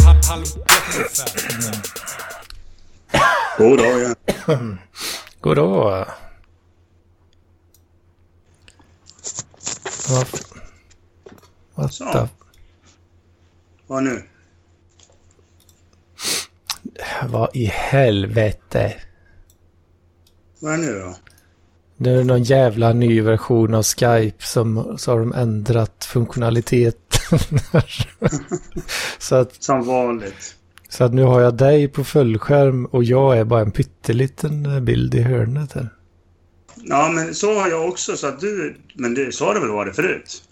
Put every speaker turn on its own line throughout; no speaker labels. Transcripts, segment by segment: halvgött ungefär.
God dag, ja.
God dag. Vad... What
Så.
the...
Vad nu?
Vad i helvete?
Vad nu då?
Nu är det någon jävla ny version av Skype som så har de ändrat funktionaliteten. så, att,
Som vanligt.
så att nu har jag dig på fullskärm och jag är bara en pytteliten eh, bild i hörnet här.
Ja, men så har jag också så att du... Men du, så har det väl varit förut?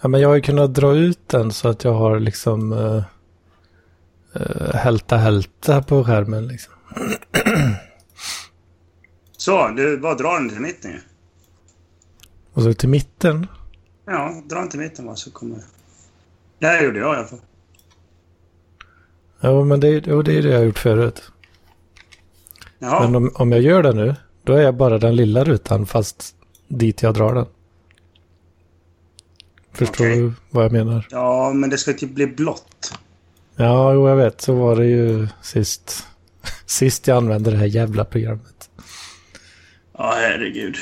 Ja, men jag har ju kunnat dra ut den så att jag har liksom uh, hälta hälta på skärmen. Liksom.
Så, du bara drar den till mitten ju.
Och så till mitten.
Ja, dra den till mitten bara så kommer... Det här gjorde jag i alla fall.
Ja, men det, är- jo, det är det jag har gjort förut. Men
Jaha,
om, om jag gör det nu, då är jag bara den lilla rutan fast dit jag drar den. Förstår
Okej.
du vad jag menar?
ja, men det ska typ bli blått.
Ja, jo, jag vet. Så var det ju sist. Sist jag använde det här jävla programmet.
Ja, herregud.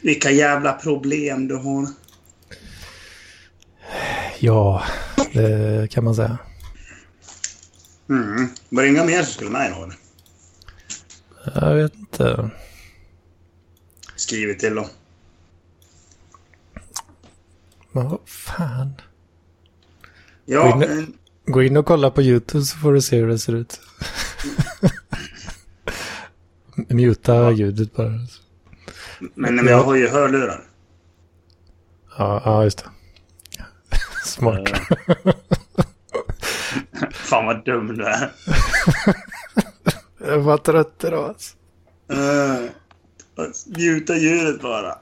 Vilka jävla problem du har.
Ja, det kan man säga.
Mm. Var det inga mer som skulle med idag?
Jag vet inte.
Skrivit till dem.
Men vad fan.
Ja,
Oj, nu-
men-
Gå in och kolla på YouTube så får du se hur det ser ut. Muta ljudet bara.
men, men jag har ju hörlurar.
Ja, ja just det. Smart.
Fan vad dum du är.
Jag var trött idag alltså.
Uh, mjuta ljudet bara.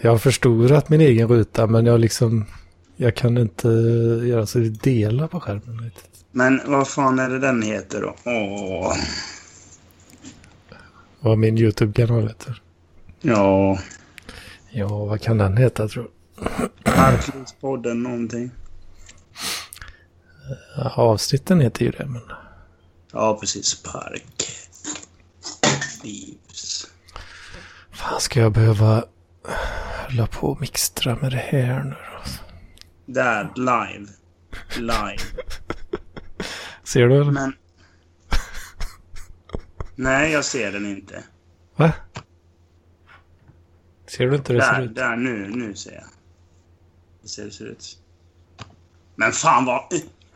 Jag har förstorat min egen ruta men jag liksom... Jag kan inte göra så att det delar på skärmen. riktigt.
Men vad fan är det den heter då? Åh.
Vad min YouTube-kanal heter.
Ja.
Ja, vad kan den heta tror du?
Parklivspodden någonting.
Ja, avsnitten heter ju det men...
Ja, precis. Park. Livs.
Fan ska jag behöva hålla på och mixtra med det här nu då?
Där, live. Live.
Ser du? eller?
Men... Nej, jag ser den inte.
Va? Ser du inte hur det ser
Där,
ut?
där, nu, nu ser jag. Det ser, det ser ut. Men fan vad...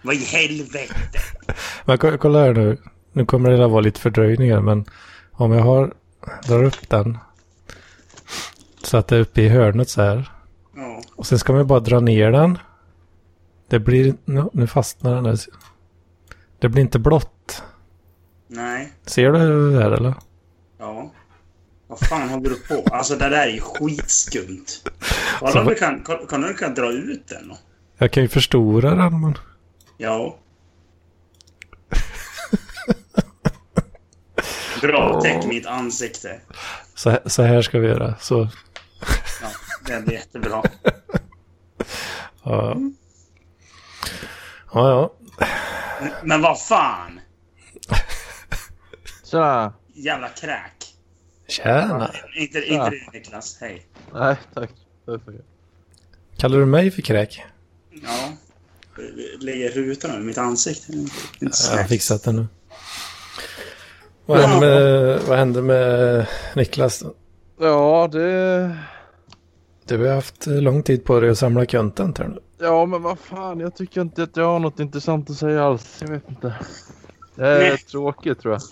Vad i helvete!
Men ko- kolla här nu. Nu kommer det att vara lite fördröjningar men om jag har, drar upp den så att det är uppe i hörnet så här.
Ja.
Och sen ska man ju bara dra ner den. Det blir, nu- nu fastnar den här. Det blir inte blått.
Nej.
Ser du det här eller?
Ja. Vad fan håller du på Alltså det där är ju skitskumt. Kolla om du kan, kolla, kolla om du kan dra ut den då.
Jag kan ju förstora den men.
Ja. Bra, täck mitt ansikte.
Så, här- så här ska vi göra. Så,
Ja, det blir jättebra.
ja. Ja, ja.
Men vad fan!
Tja!
Jävla kräk.
Tjena!
Inte,
Ja.
inte det Niklas, hej.
Nej, tack. Det är så gött.
Kallar du mig för kräk?
Ja. Lägger rutan över mitt ansikte. Inte
Jag har
snällt.
fixat den nu. Vad hände med, vad hände med Niklas?
Ja, det...
Du har haft lång tid på dig att samla content här nu.
Ja, men vad fan. Jag tycker inte att jag har något intressant att säga alls. Jag vet inte. Det är
Nej.
tråkigt tror jag.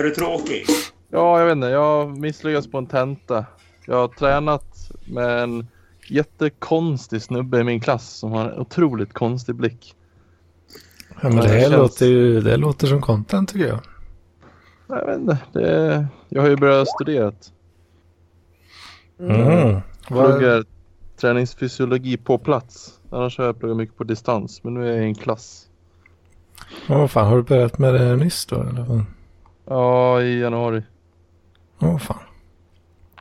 Är du tråkig?
Ja, jag vet inte. Jag har misslyckats på en tenta. Jag har tränat med en jättekonstig snubbe i min klass som har en otroligt konstig blick.
Ja, men
Ja,
det,
det
här
känns-
låter ju, det låter som content tycker jag.
Jag vet inte. Det... Jag har ju börjat studera.
Mm. Vad,
Pluggar träningsfysiologi på plats. Annars har jag pluggat mycket på distans. Men nu är jag i en klass.
vad fan, har du börjat med det nyss då? Eller? vad?
Ja, i januari.
Åh fan.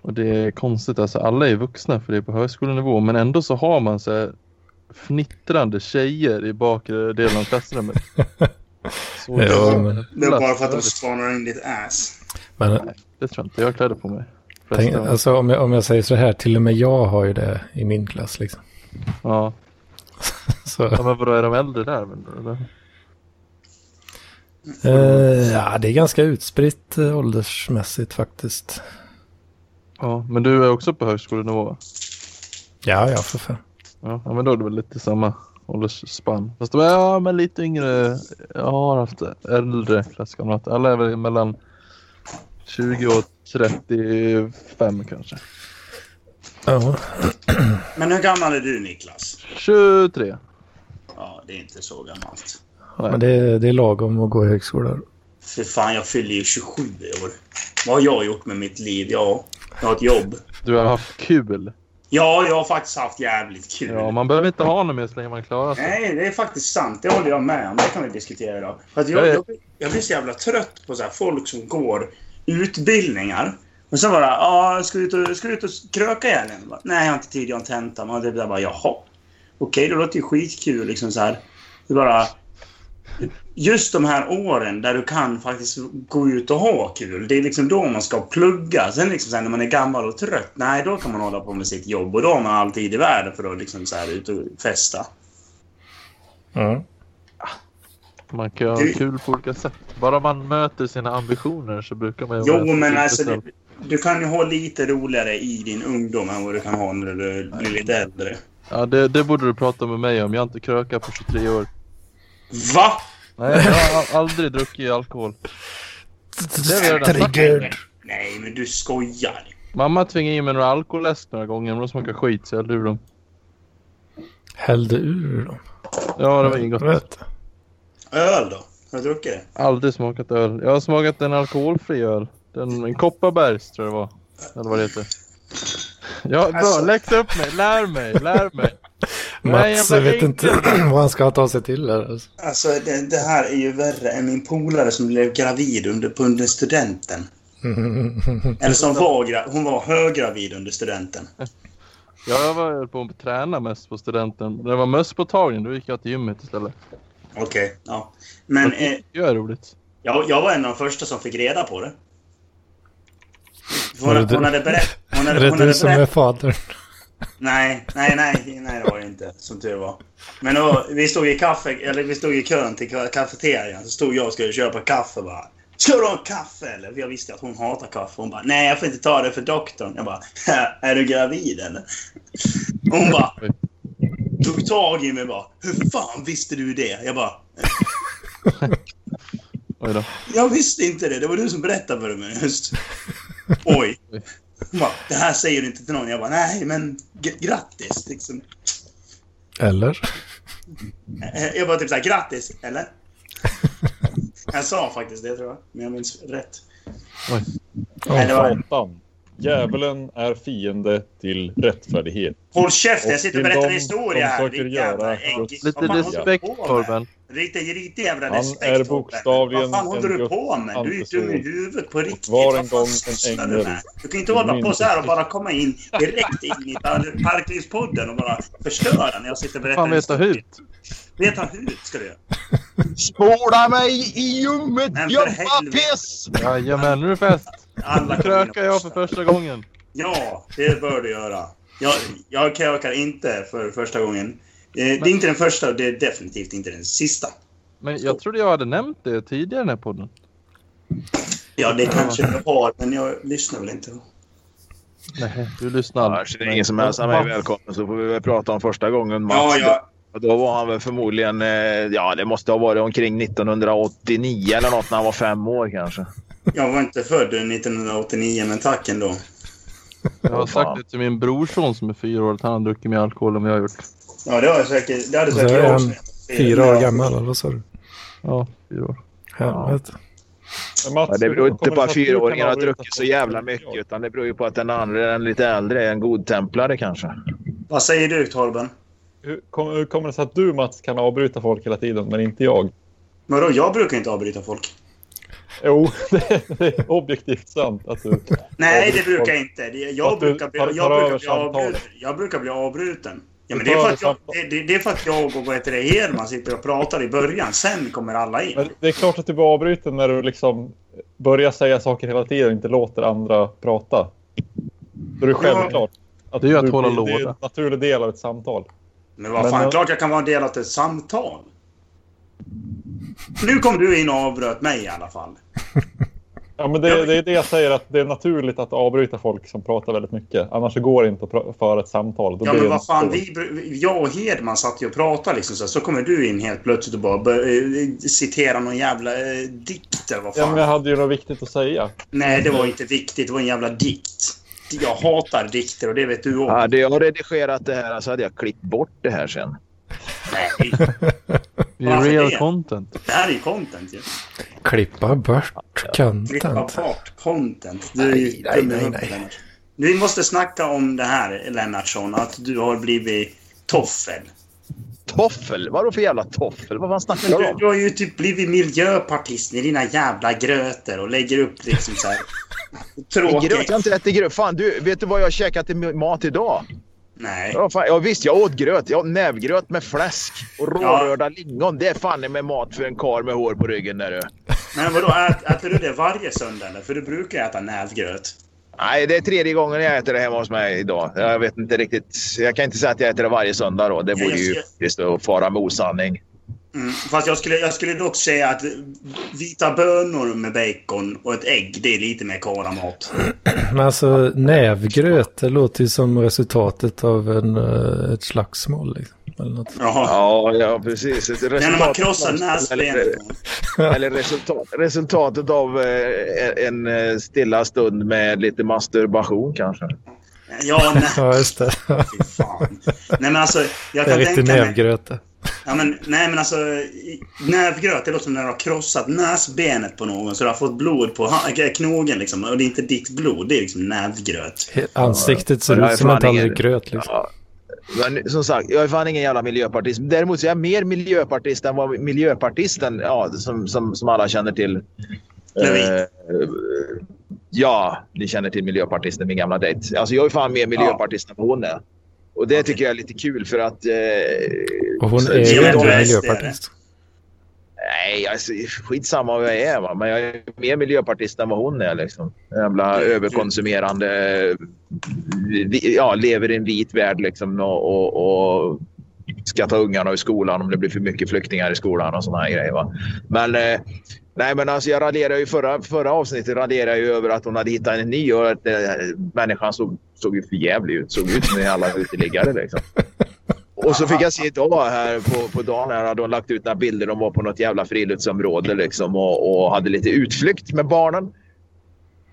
Och det är konstigt alltså, alla är vuxna för det är på högskolenivå men ändå så har man så här fnittrande tjejer i bakre delen av klassrummet. Så
Ja,
jävla
men-
Det är bara för att de
störigt.
spanar in ditt ass.
Men
Det tror jag inte. Jag klädde på mig.
tänk,
Förresten,
alltså, om, jag, om jag säger så här, till och med jag har ju det i min klass. Liksom.
ja.
Så,
ja, men vadå, är de äldre där? Men, eller?
eh, ja, det är ganska utspritt eh, åldersmässigt faktiskt.
Ja, men du är också på högskolenivå? va?
Ja, ja, för fan.
Ja, ja, men då är det väl lite samma åldersspann. Fast de är ja, men lite yngre. Jag har haft äldre klasskamrater. Alla är väl mellan 20 och 35 kanske.
Ja,
Men hur gammal är du Niklas?
23.
Ja, det är inte så gammalt.
men det, det är lagom att gå i högskola.
För fan, jag fyller ju 27 i år. Vad har jag gjort med mitt liv? Ja, jag har ett jobb.
Du har haft kul.
Ja, jag har faktiskt haft jävligt kul.
Ja, man behöver inte ha något mer så länge man klarar sig.
Nej, det är faktiskt sant. Det håller jag med om. Det kan vi diskutera idag. För att jag,
Jag är-
jag, jag blir så jävla trött på så här folk som går utbildningar och sen bara ja, ska du ut och, ska du ut och kröka i helgen? Jag bara, Nej, jag har inte tid. Jag har en tenta. Man det där bara jaha. Okej, det låter ju skitkul liksom så här. Det är bara... Just de här åren där du kan faktiskt gå ut och ha kul. Det är liksom då man ska plugga. Sen liksom så här, när man är gammal och trött, nej då kan man hålla på med sitt jobb och då har man all tid i världen för att liksom så här ut och festa.
Mm.
Man kan ha kul på olika sätt. Bara man möter sina ambitioner så brukar man ju
Jo,
vara
men alltså,
tillfredsställd.
du, du kan ju ha lite roligare i din ungdom än vad du kan ha när du blir lite äldre.
Ja, det, det borde du prata med mig om. Jag har inte krökat på 23 år.
Va?
Nej, jag har aldrig druckit alkohol. Det har vi redan sagt.
Triggered.
Nej, men du skojar.
Mamma tvingade i mig några alkoläsk några gånger, men de smakade skit så jag hällde ur dem.
Hällde ur dem.
Ja, det var inget gott.
Vet.
Öl då? Har du druckit det?
Aldrig smakat öl. Jag har smakat en alkoholfri öl. Den, en Kopparbergs tror jag det var. Eller vad det heter. Ja,
Alltså.
bra. Läxa upp mig. Lär mig. Lär mig. Nej,
Mats
jag
jag
blev
vet inte vad han ska ta sig till. Här, alltså.
Alltså, det, det här är ju värre än min polare som blev gravid under, på- under studenten. Eller som var gra- Hon var höggravid under studenten.
Ja, jag var på att träna mest på studenten. När det var mösspåtagning då gick jag till gymmet istället.
Okej, ja. Men eh,
Det är roligt.
jag, jag var en av de första som fick reda på det.
Var
Hon,
det du?
hon hade berättat... Hon
Är
hade,
det
hon hade
du som
berätt-
är fadern?
Nej, nej, nej, nej det var det inte. Som tur var. Men då, vi stod i kaffe, eller vi stod i kön till ka- kafeterian. Så stod jag och skulle köpa kaffe bara. Ska du ha kaffe eller? För jag visste att hon hatar kaffe. Hon bara, nej jag får inte ta det för doktorn. Jag bara, "Hä, är du gravid eller? Och hon bara, tog tag i mig bara, hur fan visste du det? Jag bara,
Oj då.
jag visste inte det. Det var du som berättade för mig just. Oj. Hon bara, det här säger du inte till någon. Jag bara, nej men g- grattis liksom.
Eller?
Eh, Jag bara typ såhär, grattis, eller? jag sa faktiskt det tror jag, men jag minns rätt.
Oj.
Nej, det var,
Satan. Djävulen är fiende till rättfärdighet.
håll käften, jag sitter och
Och till
berättar
dem
historia
som
här.
försöker
ditt jävla
göra
ägg.
Guds
Vad
Lite
fan håller du
respekt
på med?
Torben.
Riktigt, riktigt jävla
Han
respekt
är
Torben.
bokstavligen
Vad fan håller
en
du på med? Du är ju dum i
antisol.
huvudet på riktigt.
var en
Vad fan
gång en
sysslar du
ängel.
med? Du kan ju inte hålla på så här och bara komma in direkt in i par- Parklivspodden och bara förstöra när jag sitter och berättar
Fan vet du
historia.
hut?
Veta hut ska du göra.
Spola mig i ljummet
Men för
gömma
helvete.
piss!
Jajamän, nu är det fest.
Alla
Nu krökar jag för första gången.
Ja, det bör du göra. Jag, jag krökar inte för första gången. Eh, Det är inte den första och det är definitivt inte den sista.
Men jag trodde jag hade nämnt det tidigare i den här podden.
Ja, det kanske du har, men jag lyssnar väl inte.
Nej, du lyssnar
Annars är det ingen som hälsar mig välkommen så får vi väl prata om första gången Mats.
Ja, ja.
Då var han väl förmodligen, eh, ja det måste ha varit omkring 1989 eller något när han var fem år kanske.
Jag var inte född 1989, men tack ändå.
Jag har
Åh, fan.
sagt det till min brorson som är fyra år att han har druckit mer alkohol än vad jag har gjort.
Ja, det, har jag säkert, det hade
Så
säkert
är
jag
han
också.
Fyra år gammal, eller vad sa du?
Ja, fyra år.
Helvete.
Men Mats,
Ja, det
hur
beror inte
kommer
på
det
att
sig du kan
fyraåringen har
avbryta
druckit så
folk?
jävla mycket utan det beror ju på att den andra, den lite äldre, är en godtemplare kanske.
Vad säger du, Torben?
Hur kom- hur kommer det sig att du Mats kan avbryta folk hela tiden men inte jag?
Vadå, jag brukar inte avbryta folk.
Jo, det det är objektivt sant att du...
Nej, det brukar jag inte. Det- Jag
Att du
brukar bli,
tar-
jag
tar
brukar
över
bli
samtalet.
avbruten. Jag brukar bli avbruten. Ja, men det, är för att jag, det, det är för att jag och vad heter det, Hedman sitter och pratar i början. Sen kommer alla in.
Men det är klart att du blir avbruten när du liksom börjar säga saker hela tiden och inte låter andra prata. Då är det självklart. Att
Det är ju att
du
hålla
blir- Det är
låda.
en naturlig del av ett samtal.
Men vad
Men-
fan, klart jag kan vara en del av ett samtal. Nu kom du in och avbröt mig i alla fall.
Ja, men det, det är det jag säger, att det är naturligt att avbryta folk som pratar väldigt mycket. Annars så går det inte att pra- föra ett samtal. Då
Ja,
blir
men
det
vad
inte
fan,
så.
vi, br- jag och Hedman satt ju och pratade liksom så, här, så kommer du in helt plötsligt och bara bör- eh, citera någon jävla eh, dikt eller vad
Ja,
fan.
men jag hade ju något viktigt att säga.
Nej, det var inte viktigt. Det var en jävla dikt. Jag hatar dikter och det vet du om.
Hade jag redigerat det här så hade jag klippt bort det här sen.
Nej,
Det är
Varför
real
det?
content.
det här är ju content ju.
Klippa bort
Klippa
content.
bort content. Du är ju
Nej, nej,
dum i
nej,
huvudet,
nej.
Lennart. Vi måste snacka om det här, Lennartsson, att du har blivit toffel.
Toffel? Vadå för jävla toffel? Vad fan snackar du
Du,
om?
du har ju typ blivit miljöpartist i dina jävla gröter och lägger upp liksom så här...
Gröt?
Tråkigt.
Jag har inte ätit gröt. Fan, du, vet du vad jag käkat till mat idag?
Nej.
Ja, fan, ja visst, jag åt gröt. Jag åt nävgröt med fläsk och rårörda lingon. Det är fan med mat för en kar med hår på ryggen. Där, du.
Men vadå, ät, äter du det varje söndag eller? För du brukar ju äta nävgröt.
Nej, det är tredje gången jag äter det hemma hos mig idag. Jag vet inte riktigt. Jag kan inte säga att jag äter det varje söndag då. Det
Ja,
vore
jag
ju
ser.
faktiskt att fara med osanning.
Mm. Fast jag skulle, jag skulle dock säga att vita bönor med bacon och ett ägg, det är lite mer karamat.
Men alltså nävgröt, det låter ju som resultatet av en, eh, ett slagsmål. Liksom, eller något.
Ja.
Ja, ja precis. Ett
Det är när man krossar
eller,
näsbenet.
eller resultat, resultatet av eh, en eh, stilla stund med lite masturbation kanske.
Ja, nej.
Ja, just det.
Fy fan. Nej, men alltså, jag
Det är
kan
riktig
tänka mig...
nävgröt. det.
Ja, men, nej, men alltså, i- nävgröt, det låter som när du har krossat näsbenet på någon så du har fått blod på ha- knogen liksom. Och det är inte ditt blod, det är liksom nävgröt.
He- Ansiktet
Ja,
ser
jag är
ut som
fan
en tallrik
ingen-
gröt. Liksom.
Ja. Men som sagt, jag är fan ingen jävla miljöpartist. Däremot så är jag mer miljöpartist än vad miljöpartisten, ja, som, som, som alla känner till.
Levin.
Eh, eh, ja, ni känner till miljöpartisten, min gamla dejt. Alltså jag är fan mer miljöpartist än vad hon är. Och det tycker jag är lite kul för att... eh,
Och hon
så-
är
Ja,
ju
men
ändå
du är SD,
miljöpartist.
Nej, alltså, skitsamma vad jag är. Va? Men jag är mer miljöpartist än vad hon är. Liksom. Jävla överkonsumerande. vi- Ja, lever i en vit värld liksom, och, och, och ska ta ungarna ur skolan om det blir för mycket flyktingar i skolan och såna här grejer. Va? Men, eh, nej, men alltså, jag raljerade ju förra, förra avsnittet raljerade jag ju över att hon hade hittat en ny och att eh, människan såg, såg ju för jävlig ut. Såg ut som en jävla uteliggare. Liksom. Och så fick jag se idag här på, på dagen här hade hon lagt ut några bilder. De var på något jävla friluftsområde liksom och, och hade lite utflykt med barnen.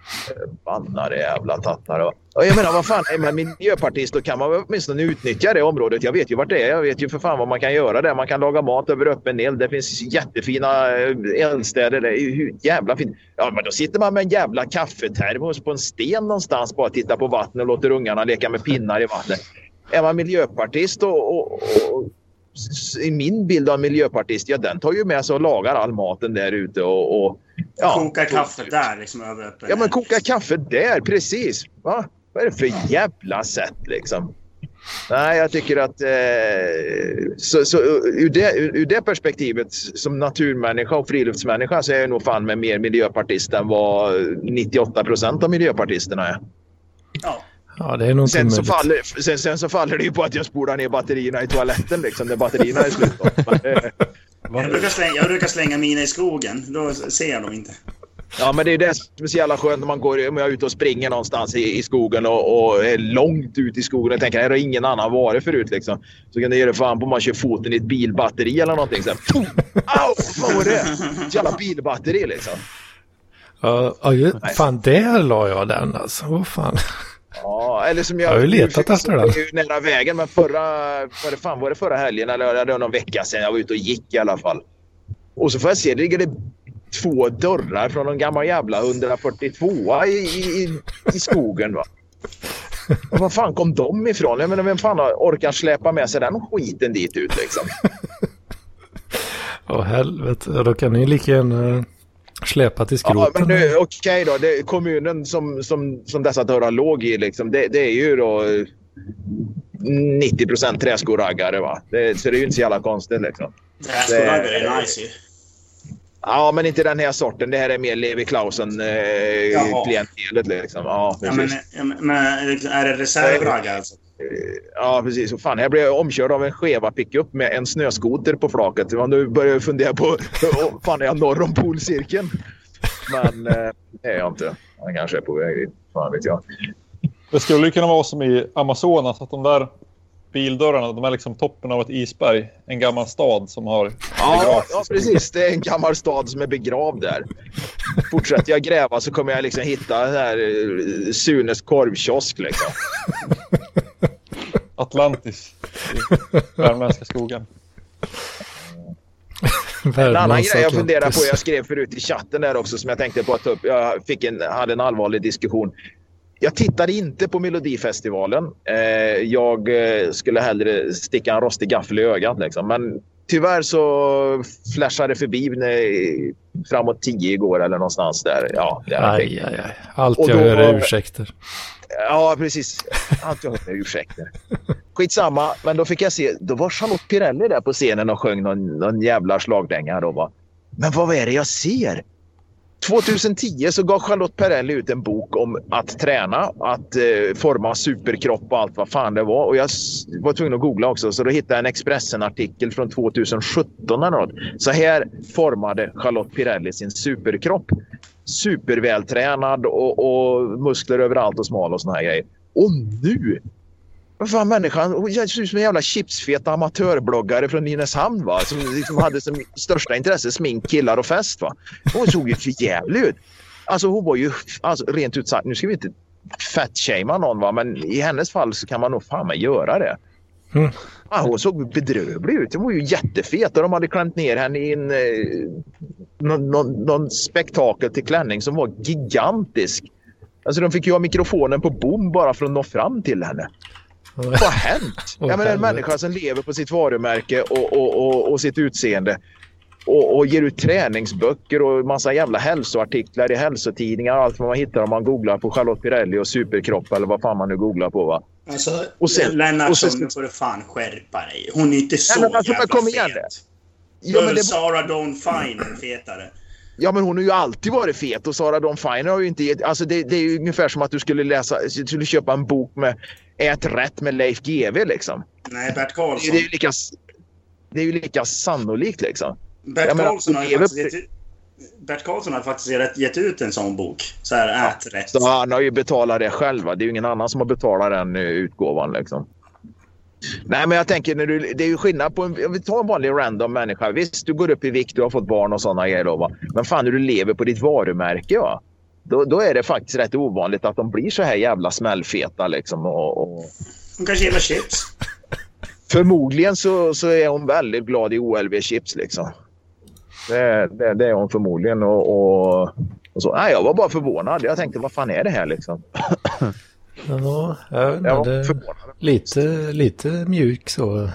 Förbannade jävla tattare. va. Och jag menar, vad fan, är man miljöpartist då kan man väl åtminstone utnyttja det området. Jag vet ju vart det är. Jag vet ju för fan vad man kan göra där. Man kan laga mat över öppen eld. Det finns jättefina eh, eldstäder. Det är ju hur jävla fint. Ja, men då sitter man med en jävla kaffetermos på en sten någonstans bara tittar på vattnet och låter ungarna leka med pinnar i vattnet är man miljöpartist och, och, och s- i min bild av en miljöpartist, ja den tar ju med sig och lagar all maten där ute och, och ja,
Koka kaffe där liksom över öppen
Ja, men
eld.
koka kaffe där, precis. Va? Vad är det för jävla sätt liksom? Nej, jag tycker att eh, så, så, ur, det, ur, ur det perspektivet som naturmänniska och friluftsmänniska så är jag nog fan med mer miljöpartist än vad 98 procent av miljöpartisterna är.
Ja.
Ja, det är nog inte
Sen så,
möjligt.
faller, sen, sen så faller det ju på att jag spolar ner batterierna i toaletten liksom, när batterierna är slut. då. Men, eh,
Jag brukar, slänga, jag brukar slänga mina i skogen. Då ser jag dem inte.
ja, men det är det som är så jävla skönt när man går om jag är ute och springer någonstans i, i skogen och, och är långt ut i skogen och tänker här har ingen annan varit förut. Liksom. Så kan det ge det fan på om man kör foten i ett bilbatteri eller någonting. Så här, pum! Au! Vad var det? Ett jävla bilbatteri liksom.
Ja, ja, ju- fan, där la jag den alltså. Vad fan.
Ja, eller som jag...
Jag har ju letat
ursäkta,
efter den.
Det är ju nära vägen, men förra... Vad det fan var det förra helgen? Eller det var någon vecka sedan jag var ute och gick i alla fall. Och så får jag se, det ligger det två dörrar från någon gammal jävla 142 i, i, i- i skogen. Va? Och var fan kom de ifrån? Jag menar, vem fan har- orkar släpa med sig den skiten dit ut liksom?
Åh helvete, Ja, då kan ni ju lika gärna eh, släpa till
Ja, men
skroten.
nu, okej då. Det, kommunen som, som, som dessa dörrar låg i, liksom, det, det är ju då eh, 90 procent träskoraggare. Va? Det, så det är ju inte så jävla konstigt. Liksom.
Träskoraggare är nice ju.
Ja, men inte den här sorten. Det här är mer Levi
Jaha.
Klausen-klientelet. liksom. ja,
Ja, men,
precis.
ja, men- men är det reservraggare alltså?
Ja, precis. Och fan, jag blev omkörd av en skeva pickup med en snöskoter på flaket. Ja, Nu börjar jag fundera på, oh, fan är jag norr om polcirkeln? Men eh, det är jag inte. Han kanske är på väg dit. Fan vet jag.
Det skulle ju kunna vara som i Amazonas, att de där bildörrarna, de är liksom toppen av ett isberg. En gammal stad som har...
Ja, ja, precis. Det är en gammal stad som är begravd där. Fortsätter jag gräva så kommer jag liksom hitta den här eh, Sunes korvkiosk. Liksom.
Atlantis i värmländska skogen.
En annan grej jag funderar på,
Värmlandsatlantis.
jag skrev förut i chatten där också som jag tänkte på att ta upp. Jag fick en, hade en allvarlig diskussion. Jag tittade inte på Melodifestivalen. Eh, jag eh, skulle hellre sticka en rostig gaffel i ögat. Liksom. Men tyvärr så flashade det förbi när, framåt tio igår eller någonstans där. Ja, där fick-
Aj, aj, aj. Allt
Och
jag
då-
hör är ursäkter.
Ja, precis. Allt jag hörde, ursäkter. Skitsamma, men då fick jag se. Då var Charlotte Pirelli där på scenen och sjöng någon, någon jävla slagdänga. Då, va? Men vad är det jag ser? 2010 så gav Charlotte Perrelli ut en bok om att träna, att eh, forma superkropp och allt vad fan det var. Och jag s- var tvungen att googla också, så då hittade jag en Expressen-artikel från 2017 eller något. Så här formade Charlotte Pirelli sin superkropp. Supervältränad och, och muskler överallt och smal och såna här grejer. Och nu! Vad fan människan, hon känns ut som en jävla chipsfet amatörbloggare från Nynäshamn va? Som liksom hade som största intresse smink, killar och fest va? Hon såg ju för jävlig ut. Alltså hon var ju, alltså, rent ut sagt, nu ska vi inte fettshamea någon va, men i hennes fall så kan man nog fan med göra det.
Mm.
Ja, hon såg bedrövlig ut. Hon var ju jättefet och de hade klämt ner henne i en, eh, någon, någon, någon spektakel till klänning som var gigantisk. Alltså de fick ju ha mikrofonen på bom bara för att nå fram till henne. Vad har hänt?
Åh,
ja, men en
helvete.
människa som lever på sitt varumärke och, och, och, och sitt utseende. Och, och ger ut träningsböcker och massa jävla hälsoartiklar i hälsotidningar och allt vad man hittar om man googlar på Charlotte Pirelli och superkropp eller vad fan man nu googlar på. Va?
Alltså,
Och sen-
Lennartsson,
och sen-
nu får du fan skärpa dig. Hon är inte så
men alltså, men
jävla
kom igen
fet.
där.
Ja,
Ja, men det,
Sarah Dawn Fine är fetare.
ja, men hon har ju alltid varit fet och Sara Dawn Finer har ju inte gett... Alltså det, det är ju ungefär som att du skulle, läsa, du skulle köpa en bok med Ät rätt med Leif GW liksom.
Nej, Bert
Det är
Karlsson.
ju lika, det är ju lika sannolikt liksom.
Bert
Jag menar,
Karlsson har ju
lever-
faktiskt gett ut- Bert Karlsson har faktiskt gett- gett ut en sån bok. Så här, ät rätt.
Så han har ju betalat det själv. va? Det är ju ingen annan som har betalat den eh, utgåvan. Liksom. Nej, men jag tänker, när du, det är ju skillnad på en, vi tar en vanlig random människa. Visst, du går upp i vikt, du har fått barn och sådana grejer. Då, va? Men fan, när du lever på ditt varumärke, va? då, då är det faktiskt rätt ovanligt att de blir så här jävla smällfeta. Liksom, och, och...
Hon kanske gillar chips.
Förmodligen så, så är hon väldigt glad i OLV-chips. Liksom. Det, det, det är hon förmodligen. Och, och, och så. Nej, jag var bara förvånad. Jag tänkte, vad fan är det här? Liksom?
Ja, jag vet inte,
Jag var
det är
förvånad.
lite, lite mjuk så.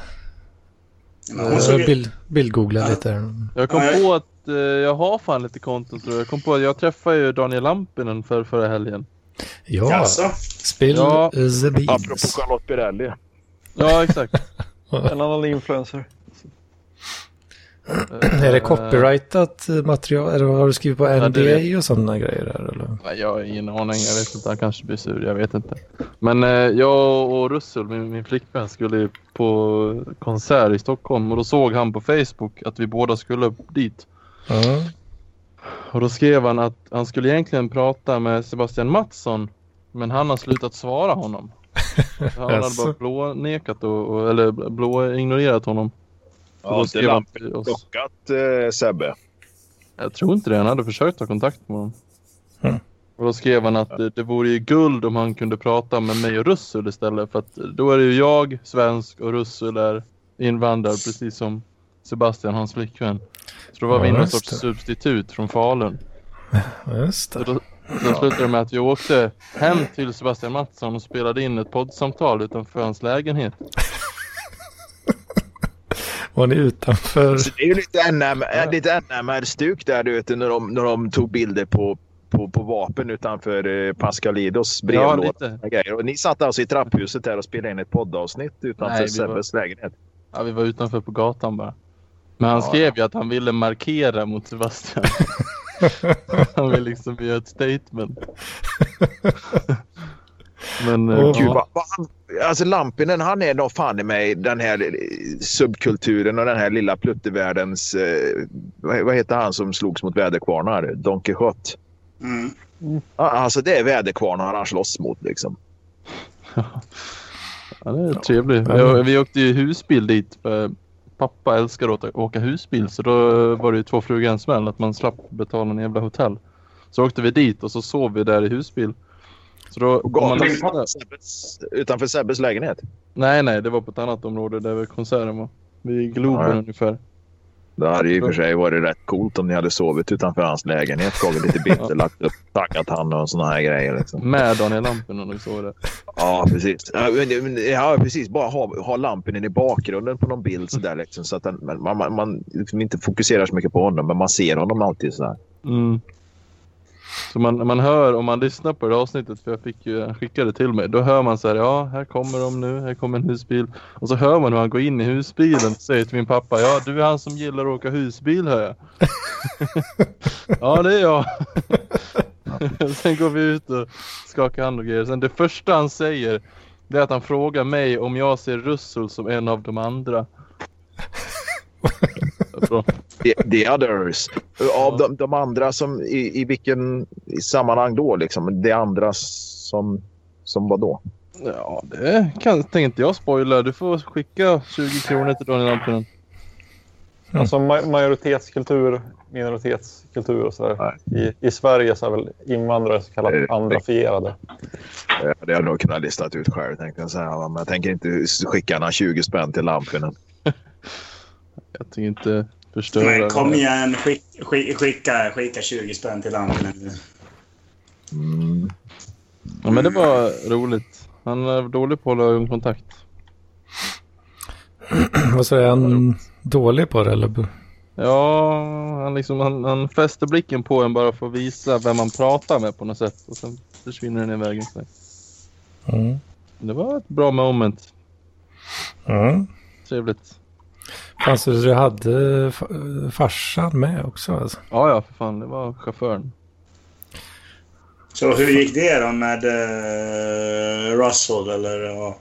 Men hon såg
Jag
ju...
bild, bildgooglar
Ja.
lite här.
Jag kom
Nej.
på att eh, jag har fan lite content tror jag. Jag kom på att jag träffade ju Daniel Lampinen för förra helgen.
Ja,
Jaså?
spill
Ja.
the
Apropå
beans.
Charlotte Pirelli.
Ja, exakt.
En annan influencer.
Är det copyrightat material? Eller har du skrivit på
det vet
NDA och sådana grejer där? Eller?
Nej, jag har ingen aning. Jag vet inte. Han kanske blir sur. Jag vet inte. Men eh, jag och Russel, min, min flickvän, skulle på konsert i Stockholm och då såg han på Facebook att vi båda skulle upp dit.
Mm.
Och då skrev han att han skulle egentligen prata med Sebastian Mattsson men han har slutat svara honom. Han hade
Jaså?
bara blånekat och, och, eller blå ignorerat honom. Och
Ja,
då
inte
skrev han
lampigt
till oss.
dockat eh, Sebbe.
Jag tror inte det. Han hade försökt ta kontakt med honom.
Mm.
Och då skrev han att det, det vore ju guld om han kunde prata med mig och Russel istället. För att då är det ju jag, svensk och Russel är invandrare precis som Sebastian, hans flickvän. Så då var vi
Ja,
någon
just
sorts
det.
substitut från Falun.
Just
Så
det.
då, då slutade det med att jag åkte hem till Sebastian Mattsson och spelade in ett poddsamtal utanför hans lägenhet.
Var ni utanför?
Alltså, Så det är ju lite, NM, eh, lite NMR-stuk där du vet, när de, när de tog bilder på, på, på vapen utanför eh, Pascalidos
Ja,
brevlåda.
lite.
och grejer. och ni satt alltså i trapphuset här och spelade in ett poddavsnitt utanför
Nej, vi var-
Sebbes lägenhet.
Ja, vi var utanför på gatan bara. Men han
Ja.
skrev ju att han ville markera mot Sebastian. han ville liksom göra ett statement. Men eh,
Åh,
Gud,
ja,
vad, vad han, alltså Lampinen, han är då fan i mig den här eh, subkulturen och den här lilla pluttervärldens... Eh, vad, vad heter han som slogs mot väderkvarnar? Don Quijote.
Mm.
Ja, Alltså det är väderkvarnar han slåss mot liksom.
han är trevlig.
Ja.
Jag, vi åkte ju husbil dit. för Pappa älskar att åka- åka husbil så då var det ju två flugor i en smäll att man slapp betala en jävla hotell. Så åkte vi dit och så sov vi där i husbil. Så då,
Och
om man
gatan
lyssnar-
utanför Sebbes- utanför Sebbes lägenhet.
Nej, nej, det var på ett annat område där konserten var. Vid Globen
Ja, ja.
ungefär.
Det hade ju i och för sig varit rätt coolt om ni hade sovit utanför hans lägenhet, tagit lite bilder, lagt upp, taggat han och såna här grejer. Liksom.
Med Daniel Lampinen och så där.
Ja, precis. Ja, men- men- ja, precis. Bara ha, ha lampen i bakgrunden på någon bild så där liksom, så att den, man, man, man liksom inte fokuserar så mycket på honom, men man ser honom alltid så här.
Mm. Så man, man hör, om man lyssnar på det här avsnittet, för jag fick ju, han skickade det till mig, då hör man så här, ja här kommer de nu, här kommer en husbil. Och så hör man hur han går in i husbilen och säger till min pappa, ja du är han som gillar att åka husbil hör jag. ja det är jag. Sen går vi ut och skakar hand och grejer. Sen det första han säger, det är att han frågar mig om jag ser Russell som en av de andra. Så,
The, the others. Av de, de andra som, i, i vilken i sammanhang då liksom? De andra som, som vad då?
Ja, det kan, tänkte jag spoila. Du får skicka 20 kronor till Daniel Lampinen.
Alltså ma- majoritetskultur, minoritetskultur och sådär. I, I Sverige så är väl invandrare så kallat
Eh,
andrafierade.
Eh, Det hade jag nog kunnat lista ut själv tänkte jag säga. va, Men jag tänker inte skicka några 20 spänn till Lampinen.
Jag tänker inte förstöra.
Men kom igen, skick, skick, skicka, skicka 20 spänn till Lampinen.
Mm.
Ja, men det var roligt. Han är dålig på att hålla ögonkontakt.
Vad säger han? Dålig på det eller?
Ja, han, liksom, han, han fäster blicken på en bara för att visa vem man pratar med på något sätt. Och sen försvinner den i vägen. Så
Mm.
Det var ett bra moment.
Mm.
Trevligt.
Fan, så du hade fa- farsan med också alltså?
Ja, ja, för fan. Det var chauffören.
Så hur gick det då med eh, Russell eller? ja.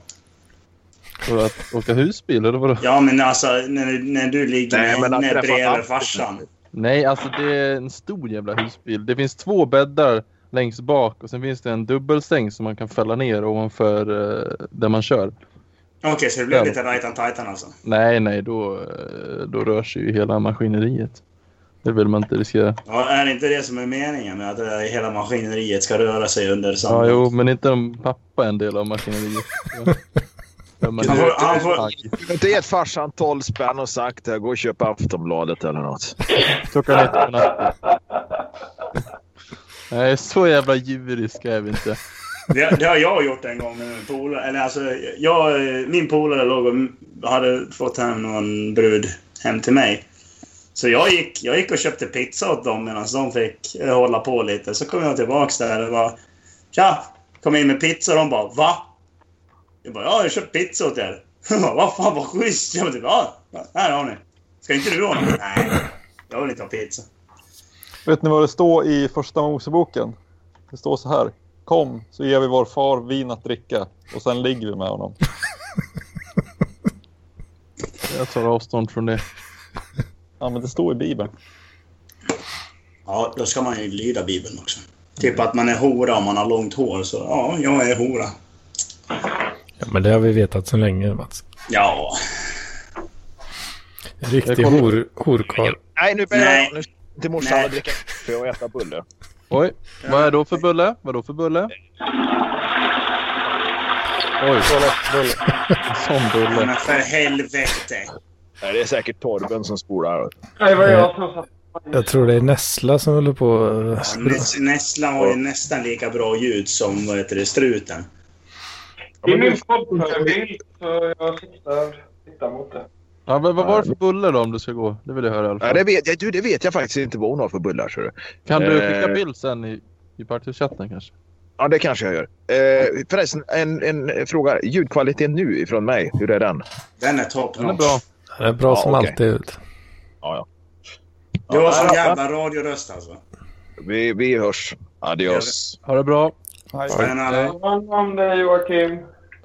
Och att åka husbil, eller vadå?
Ja, men alltså när, när du ligger
Nej,
med
men att
henne
träffa
bredvid
Lampinen.
farsan.
Nej, alltså det är en stor jävla husbil. Det finns två bäddar längst bak och sen finns det en dubbelsäng som man kan fälla ner ovanför eh, där man kör.
Okej, så det blev
Ja.
lite right on titan alltså.
Nej, nej, då, eh, då rör sig ju hela maskineriet. Det vill man inte riskera.
Ja, är det inte det som är meningen med att eh, hela maskineriet ska röra sig under samma...
Ja, jo, men inte om pappa är en del av maskineriet. Ja. Ja, men-
Han får- han får-
Du har inte gett farsan 12 spänn och sagt gå och köp Aftonbladet eller något.
Klockan ett på natten. Nej, så jävla djuriska är vi inte.
Det, det har jag gjort en gång med min polare. Eller alltså, jag, min polare låg och hade fått hem någon brud hem till mig. Så jag gick, jag gick och köpte pizza åt dem medan de fick eh, hålla på lite. Så kom jag tillbaks där och bara Tja! Kom in med pizza och de bara Va? Jag bara ja, jag köpte pizza åt er. De bara, Vad fan vad schysst! Jag bara ja, här har ni. Ska inte du ha någon? Nej, jag vill inte ha pizza.
Vet ni vad det står i Första Moseboken? Det står så här. Kom, så ger vi vår far vin att dricka och sen ligger vi med honom.
Jag tar avstånd från det.
Ja, men det står i Bibeln.
Ja, då ska man ju lyda Bibeln också. Typ att man är hora om man har långt hår. Så ja, jag är hora.
Ja, men det har vi vetat så länge Mats.
Ja.
En Riktig
Jag kommer-
hor, horkarl.
Nej, nu börjar
Nej.
jag. Nu ska jag till morsan
Nej.
och dricka kaffe och äta bulle.
Oj, vad är då för bulle? Vad då för bulle? Oj, sån bulle.
Men för helvete.
Nej, det är säkert Torben som spolar.
Nej, vad jag som satt.
Eh, Jag tror det är Nessla som håller på.
Ja, Ness- Nesslan har ju nästan lika bra ljud som vad heter det, struten.
Det är min poddförebild, så jag tittar, tittar mot det.
Ja, men vad var det för bulle då om du ska gå? Det vill jag höra i alla
Ja,
fall.
det, vet, jag- du, det vet jag faktiskt inte vad hon har för bullar. Tror du.
Kan du
Eh.
skicka bild sen i I partychatten kanske?
Ja, det kanske jag gör. Eh, förresten, en, en fråga. Ljudkvaliteten nu ifrån mig, hur är den?
Den är topp
Den är bra.
Det är bra
Ja,
som
okej.
alltid.
Ja, ja.
Det var sån
Ja,
jävla radioröst alltså.
Vi, vi hörs. Adios.
Ha det bra.
Den alla-
Ta hand om dig Joakim.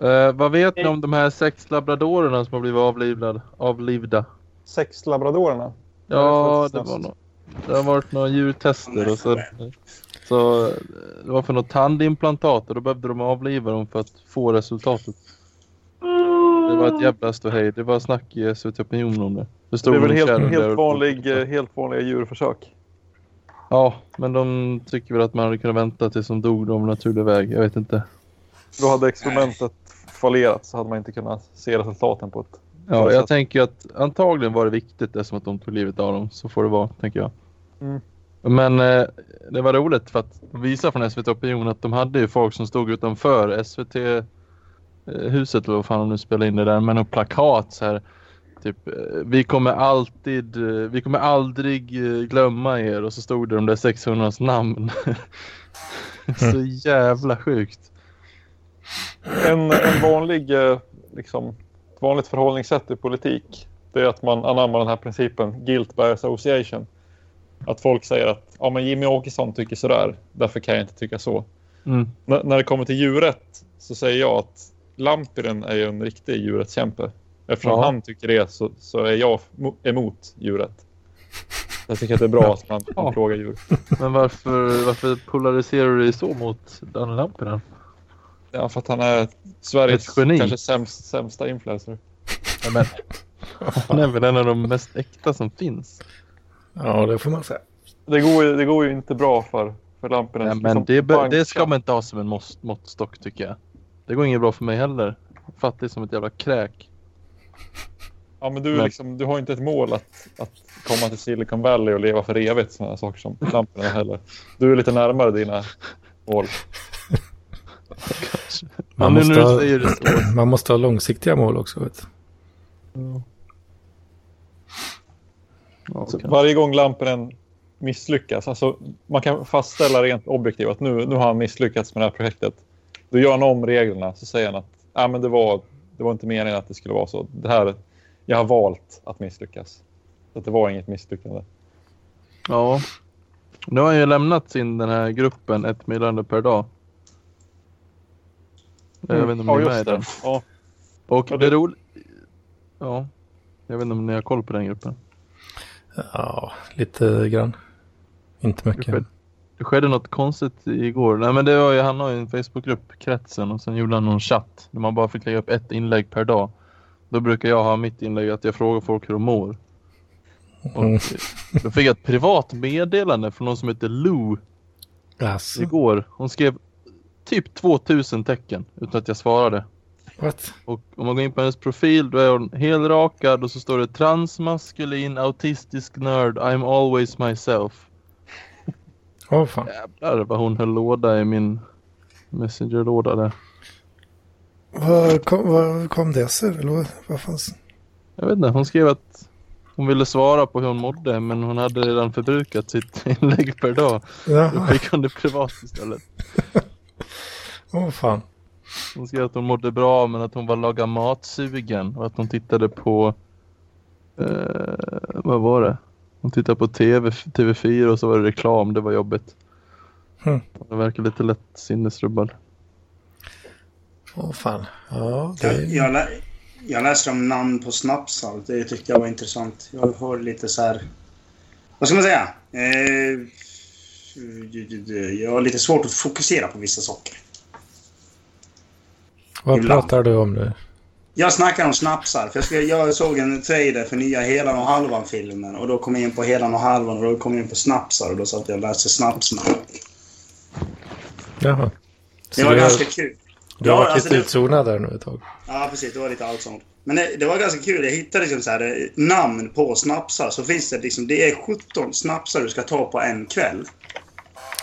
Eh, vad vet ni om de här sex labradorerna som har blivit avlivnad, avlivda?
Sex labradorerna.
Ja,
Det
det
är
var
faktiskt
nog. Det har varit några djurtester och så, så eh, det var för något tandimplantat och då behövde de avliva dem för att få resultatet. Det var ett jävla ståhej. Det var snack i SVT Opinion om det. Det
Det
stod
är väl
en kärring
helt,
där
helt,
och-
vanlig, eh, helt vanliga djurförsök.
Ja, men de tycker väl att man hade kunnat vänta tills de dog av naturlig väg. Jag vet inte.
Då hade experimentet fallerat så hade man inte kunnat se resultaten på ett...
Ja, jag tänker ju att antagligen var det viktigt eftersom att de tog livet av dem. Så får det vara, tänker jag.
Mm.
Men eh, det var roligt för att de visade från SVT Opinion att de hade ju folk som stod utanför SVT-huset eh, eller vad fan de nu spelade in det där med något plakat så här. Typ, eh, vi kommer alltid, eh, vi kommer aldrig eh, glömma er och så stod det de där 600 namn. så jävla sjukt.
En, en vanlig, eh, liksom, ett vanligt förhållningssätt i politik det är att man anammar den här principen guilt by association. Att folk säger att ja, men Jimmy Åkesson tycker sådär, därför kan jag inte tycka så.
Mm.
N- när det kommer till djurrätt så säger jag att Lampinen är ju en riktig djurrättskämpe. Eftersom
Ja.
han tycker det så, så är jag mo- emot djurrätt. Jag tycker att det är bra att man, man
Ja.
plågar djur.
Men varför, varför polariserar du dig så mot Danne Lampinen?
Ja, för att han är Sveriges
Ett geni.
kanske sämst, sämsta influencer.
Ja, men, han är väl en av de mest äkta som finns.
Ja, det får man säga.
Det går ju, det går ju inte bra för, för Lampinen.
Nej, men
Liksom
det, bör-
banka.
det ska man inte ha som en mått, måttstock tycker jag. Det går inget bra för mig heller. Fattig som ett jävla kräk.
Ja, men du, är
Men-
liksom, du har inte ett mål att, att komma till Silicon Valley och leva för evigt. Sådana saker som Lampinen heller. Du är lite närmare dina mål.
Men
Man,
nu när
måste
du
ha,
säger det så.
man måste ha långsiktiga mål också. Vet. du.
Ja,
Så
okej.
Varje gång Lampinen misslyckas, alltså man kan fastställa rent objektivt att nu, nu har han misslyckats med det här projektet. Då gör han om reglerna så säger han att ah, men det, var, det var inte meningen att det skulle vara så. Det här, jag har valt att misslyckas. Så att det var inget misslyckande.
ja. Nu har han ju lämnat sin den här gruppen ett meddelande per dag. Jag vet inte om ni är med i den.
Ja.
Och
Ja,
det
det-
roliga... Ja. Jag vet inte om ni har koll på den gruppen.
Ja, lite grann. Inte mycket.
Ungefär. Det skedde något konstigt igår. Nej, men det var ju, han har ju en Facebookgrupp, Kretsen, och sen gjorde han någon chatt där man bara fick lägga upp ett inlägg per dag. Då brukar jag ha mitt inlägg att jag frågar folk hur de mår. Och
Mm.
då fick jag ett privat meddelande från någon som heter Lou
Alltså,
igår. Hon skrev typ 2000 tecken utan att jag svarade.
what?
Och om man går in på hennes profil då är hon helrakad och så står det transmaskulin autistisk nörd I'm always myself.
Åh fan.
Jävlar vad hon höll låda i min Messenger-låda där.
Var kom, var kom det sig? Eller vad- vad fanns?
Jag vet inte, hon skrev att hon ville svara på hur hon mådde men hon hade redan förbrukat sitt inlägg per dag. Då
Ja,
fick hon det privat istället.
åh fan.
Hon skrev att hon mådde bra men att hon var laga matsugen och att hon tittade på... Eh, vad var det? Hon tittade på TV, TV4 och så var det reklam, det var jobbigt.
Hmm.
Hon verkar lite lätt sinnesrubbad.
Åh fan. Ja, det
Jag,
är...
jag, lä, jag läste om namn på snapsar. Det tyckte jag var intressant. Jag hör lite så här... Vad ska man säga? Eh, jag har lite svårt att fokusera på vissa saker.
Vad
ibland.
pratar du om nu?
Jag snackar om snapsar. För jag, ska, jag såg en trailer för nya Helan och Halvan-filmen. Och då kom jag in på Helan och Halvan och då kom jag in på snapsar. Och då satt jag och läste snapsnamn.
Jaha. Så
Det var
du,
ganska kul.
du har
Ja,
varit
alltså,
lite
det-
utzonad där nu ett tag.
Ja, precis. Det var lite allt sånt. Men det, det var ganska kul. Jag hittade liksom så här, eh, namn på snapsar. Så finns det liksom, det är 17 snapsar du ska ta på en kväll.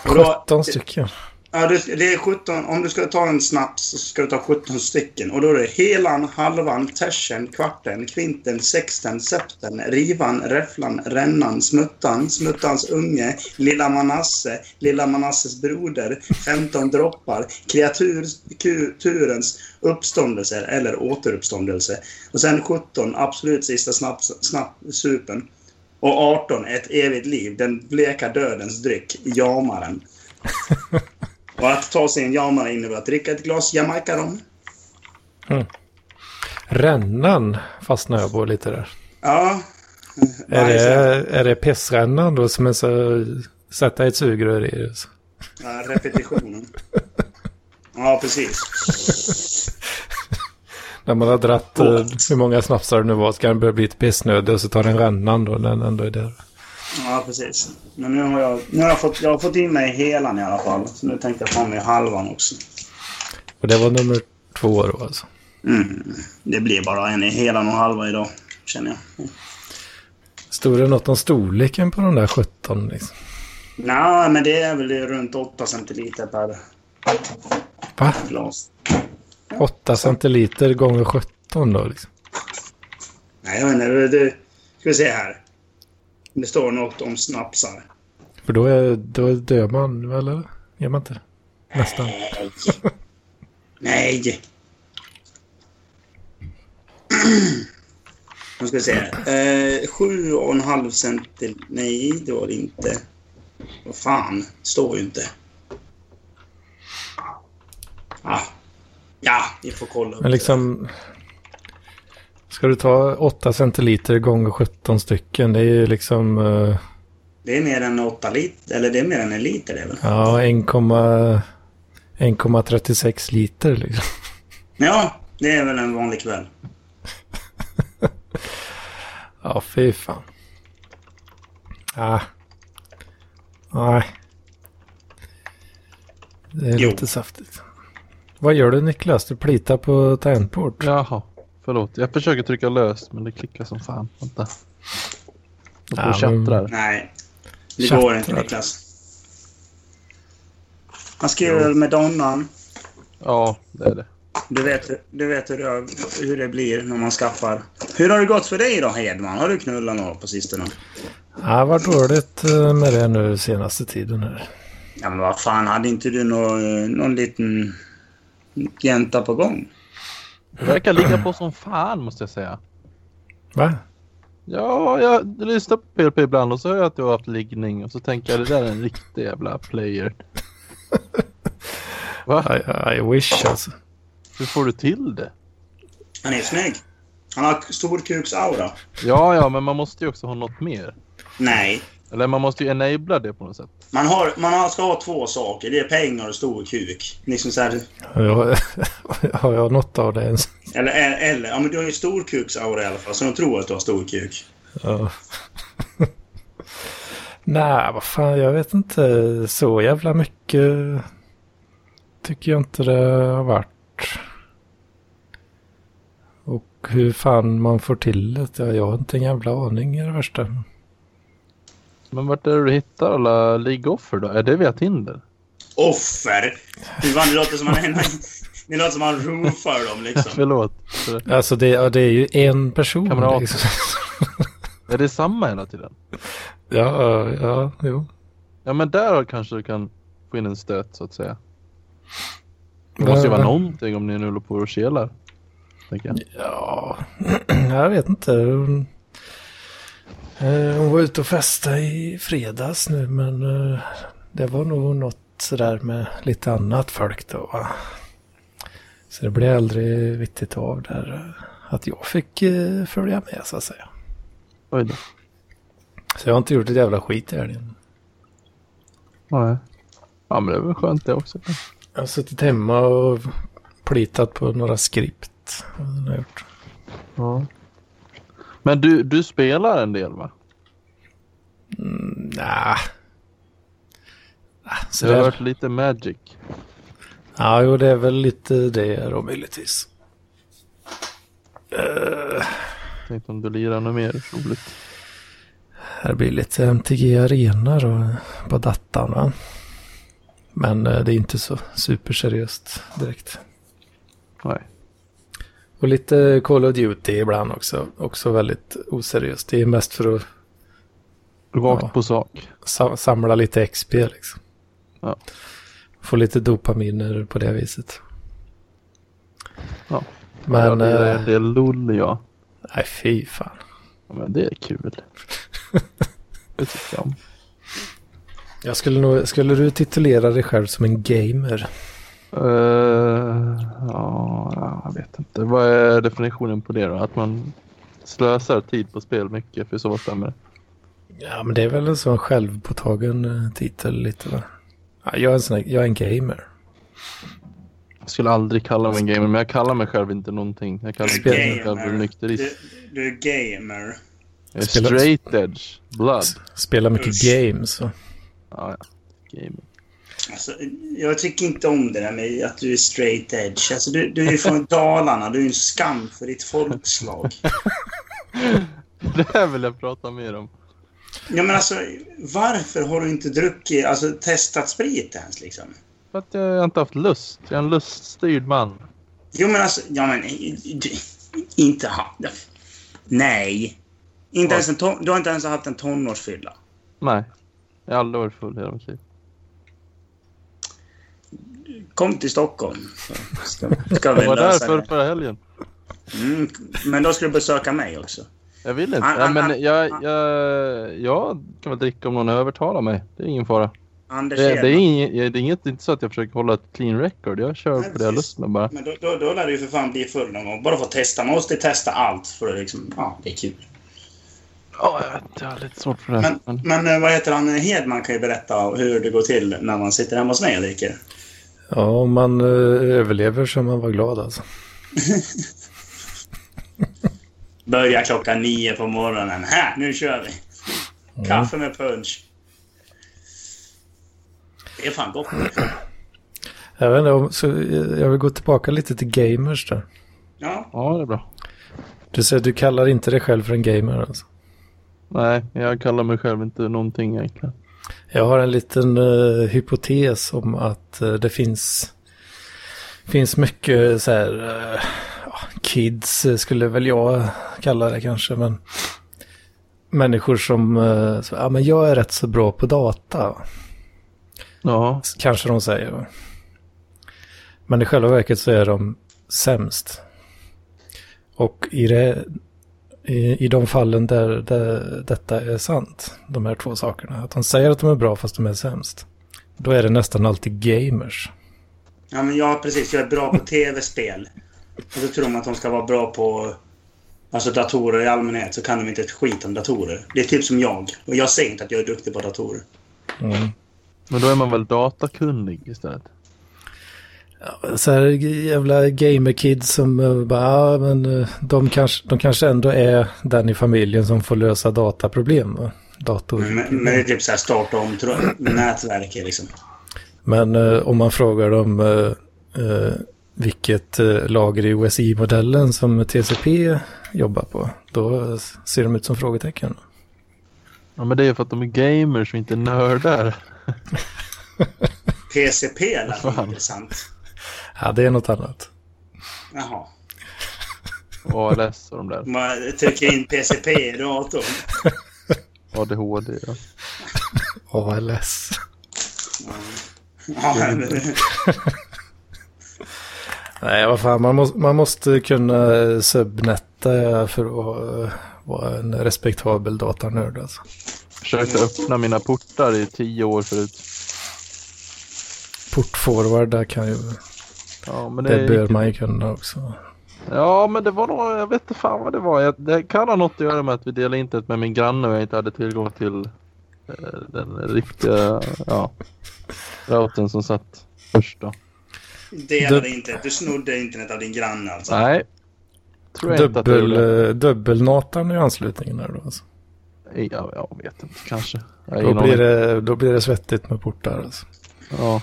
Och då-
17 stycken.
Ja, det, det är 17, om du ska ta en snaps så ska du ta 17 stycken. Och då är det helan, halvan, tersen, kvarten, kvinten, sexten, septen, rivan, räfflan, rännan, smuttan, smuttans unge, lilla Manasse, lilla Manasses broder, 15 droppar, kreatur, ku- turens uppståndelse eller återuppståndelse. Och sen 17, absolut sista snaps, snaps, supen. Och 18, ett evigt liv, den bleka dödens dryck, jamaren. Och att ta sig en jamare innebär att dricka ett glas Jamaica rom.
Rännan fastnar jag på lite där.
Ja.
Är
Nej, så-
det, är det pissrännan då som är så... Sätta ett sugrör i det. så?
ja, repetitionen. Ja, precis.
När man har dratt
Åh.
eh, hur många snapsar det nu var ska den börja bli lite pissnödig och så tar den rännan då när den ändå är där.
Ja, precis. Men nu har jag, nu har jag, fått, jag har fått in mig i helan i alla fall. Så nu tänkte jag ta mig halvan också.
Och det var nummer två då alltså.
Mm. Det blir bara en i helan och halva idag, känner jag.
Stod det något om storleken på de där 17 liksom?
Nej, men det är väl runt 8 centiliter per
Va?
glas.
8 centiliter gånger 17 då liksom.
Nej, jag vet inte. Det- det- Ska vi se här. Det står något om snapsar.
För då, är, då dör man väl eller? Gör man inte det? Nästan.
Nej. Nej. Nu ska vi se. Eh, sju och en halv centil... Nej, det var det inte. Vad fan, står ju inte. Ah. Ja, vi får kolla. upp
Men liksom... Ska du ta 8 centiliter gånger 17 stycken? Det är ju liksom... eh,
det. Det är mer än åtta liter, eller det är mer än en liter det är väl?
Ja, 1,0 1,36 liter liksom.
Ja, det är väl en vanlig kväll.
Ja, fy fan. Ah. Nej. Det är
Jo.
inte saftigt. Vad gör du Niklas? Du plitar på tangentbord?
Jaha, förlåt. Jag försöker trycka löst men det klickar som fan. Vänta. Jag
Ja,
får tjattrar.
Nej, det
Tjattrar.
går inte Niklas. Han skriver väl med donnan.
Ja, det är det.
Du vet, du vet hur, det, hur det blir när man skaffar. Hur har det gått för dig då Hedman? Har du knullat några på sistone?
Ja, det var Ah, dåligt eh, med det nu senaste tiden här.
Ja men vad fan, hade inte du någon, någon liten jänta på gång?
Det verkar ligga på som fan måste jag säga.
Va?
Ja, jag lyssnar på PLP ibland och så hör jag att du har haft liggning och så tänker jag det där är en riktig jävla player. Va?
I, I wish alltså.
Hur får du till det?
Han är snygg. Han har storkuksaura.
Ja, ja, men man måste ju också ha något mer.
Nej.
Eller man måste ju enabla det på något sätt.
Man, har, man har, ska ha två saker. Det är pengar och stor kuk. Liksom så här,
Har jag, har jag något av det ens?
eller, eller, ja men du har ju storkuksaura i alla fall. Så de tror att du har stor kuk.
Ja. Nej, vad fan, jag vet inte. Så jävla mycket tycker jag inte det har varit. Och hur fan man får till det, ja, jag har inte en jävla aning i det värsta.
Men vart är det du hittar alla ligoffer då? Är det via Tinder?
Offer! Fy fan, Det låter som han är... Det låter som han roofar dem liksom.
Förlåt.
Alltså det, ja, det är ju en person.
Kamrat.
liksom.
Är det samma hela tiden?
ja, ja, jo.
Ja, men där kanske du kan få in en stöt så att säga. Det måste ju vara någonting om ni nu håller på och kelar. Tänker jag.
Ja, jag vet inte. Hon, eh, hon var ute och festa i fredags nu men eh, det var nog något sådär med lite annat folk då. va. Så det blev aldrig riktigt av där. eh, Att jag fick eh, följa med så att säga.
Oj då.
Så jag har inte gjort ett jävla skit i helgen.
Nej. Ja, men det är väl skönt det också.
Jag har suttit hemma och plitat på några skript. har jag gjort.
Ja. Men du, du spelar en del va?
Nja. Ah,
Jag har
Sådär.
hört lite Magic.
Ja, jo, det är väl lite det då möjligtvis. Eh,
Tänkte om du lirar något mer roligt.
här blir lite MTG Arena då på datan va? Men eh, det är inte så superseriöst direkt.
Nej.
Och lite Call of Duty ibland också. Också väldigt oseriöst. Det är mest för att
Rakt
Ja.
på sak.
sa- samla lite XP liksom.
Ja.
Få lite dopaminer på det viset.
Ja.
Men,
ja, det är
eh,
en del lull ja.
nej fy fan.
ja. Men det är kul. Det tycker jag om.
Jag skulle nog, skulle du titulera dig själv som en gamer?
Eh, ja, ja, jag vet inte. Vad är definitionen på det då? Att man slösar tid på spel mycket, för så stämmer det.
Ja men det är väl en sån självpåtagen eh, titel lite va? Ja, jag är en sån här, jag är en gamer.
Jag skulle aldrig kalla mig en gamer, men jag kallar mig själv inte någonting. Jag kallar
Spel-
mig själv för
Du,
nykterist.
du är gamer.
Jag är
Spelar-
straight edge. Blood.
S- Spelar mycket
Usch.
games. Så.
Ja, ja. Gamer.
Alltså, jag tycker inte om det där med att du är straight edge. Alltså, du, du är ju från Dalarna. Du är en skam för ditt folkslag.
Det här vill jag prata mer om.
Ja, men alltså, varför har du inte druckit, alltså testat sprit ens liksom?
För att jag har inte haft lust. Jag är en luststyrd man.
Jo, men alltså, ja men du, inte ha. Nej. Inte
Ja.
ens en ton, du har inte ens haft en tonårsfylla.
Nej. Jag har aldrig varit full i hela mitt liv.
Kom till Stockholm. så Ska, ska vi
Jag var där
lösa
för,
det.
förra helgen.
Mm, men då ska du besöka mig också.
Jag vill inte.
Ah, ah,
Nej,
ah,
men jag, jag, jag kan väl dricka om någon övertalar mig. Det är ingen fara.
Anders
Det, det, är,
Hedman.
inget, det, är inget, det är inte så att jag försöker hålla ett clean record. Jag kör
Nej,
på det jag har
precis.
lust med bara.
Men då, då, då lär du ju för fan bli full någon gång. Bara för att testa. Man måste testa allt för att liksom, ja, det är kul.
Ja, jag vet. Jag har lite svårt för det. här.
Men,
Men,
men eh, vad heter han? Hedman kan ju berätta hur det går till när man sitter hemma hos mig och dricker.
Ja, om man eh, överlever så man var glad alltså.
Börjar klockan nio på morgonen. Här, nu kör vi! Kaffe med punch. Det är fan gott.
Jag vet inte, om, så eh, jag vill gå tillbaka lite till gamers där.
Ja,
ja, det är bra.
Du säger att du kallar inte dig själv för en gamer alltså.
Nej, jag kallar mig själv inte någonting egentligen.
Jag har en liten eh, hypotes om att eh, det finns, finns mycket så här, eh, ja, kids eh, skulle väl jag kalla det kanske, men människor som, eh, så, ja men jag är rätt så bra på data,
Ja,
kanske de säger. va. Men i själva verket så är de sämst. Och i, det, i, i de fallen där, där detta är sant, de här två sakerna, att de säger att de är bra fast de är sämst, då är det nästan alltid gamers.
ja, men ja precis. Jag är bra på tv-spel. Och så tror man att de ska vara bra på alltså, datorer i allmänhet. Så kan de inte ett skit om datorer. Det är typ som jag. Och jag säger inte att jag är duktig på datorer.
Mm.
men då är man väl datakunnig istället?
Så här jävla gamerkids som eh, bara, ah, men eh, de kanske, de kanske ändå är den i familjen som får lösa dataproblem. va? Dator.
Men, men det är typ så här starta om tro- nätverket liksom.
Men eh, om man frågar dem eh, eh, vilket eh, lager i OSI-modellen som TCP jobbar på, då eh, ser de ut som frågetecken.
Ja, men det är för att de är gamers och inte nördar.
PCP lät
Fan.
intressant.
Ja, det är något annat.
Jaha.
Och ALS och de där.
Man trycker in PCP i datorn.
ADHD. Ja.
ALS.
Ja, men-
Nej, vad fan, man måste, man måste kunna subnetta för att vara- vara en respektabel datanörd. Alltså.
Försökte öppna mina portar i tio år förut.
Portforwardar kan ju,
Ja, men det,
det
är
bör
riktigt-
man ju kunna också.
Ja, men det var nog, jag vet inte fan vad det var. Jag, det kan ha något att göra med att vi delade internet med min granne och jag inte hade tillgång till eh, den riktiga, ja, routern som satt först då.
Delade inte. Du snodde internet av din granne alltså.
Nej. Tror jag inte att jag
Dubbel,
gjorde.
eh, dubbelnatan i anslutningen där då. Alltså.
Ja, jag vet inte, kanske. Jag har
Då,
ingen
blir
aning.
det, då blir det svettigt med portar. Alltså.
Ja.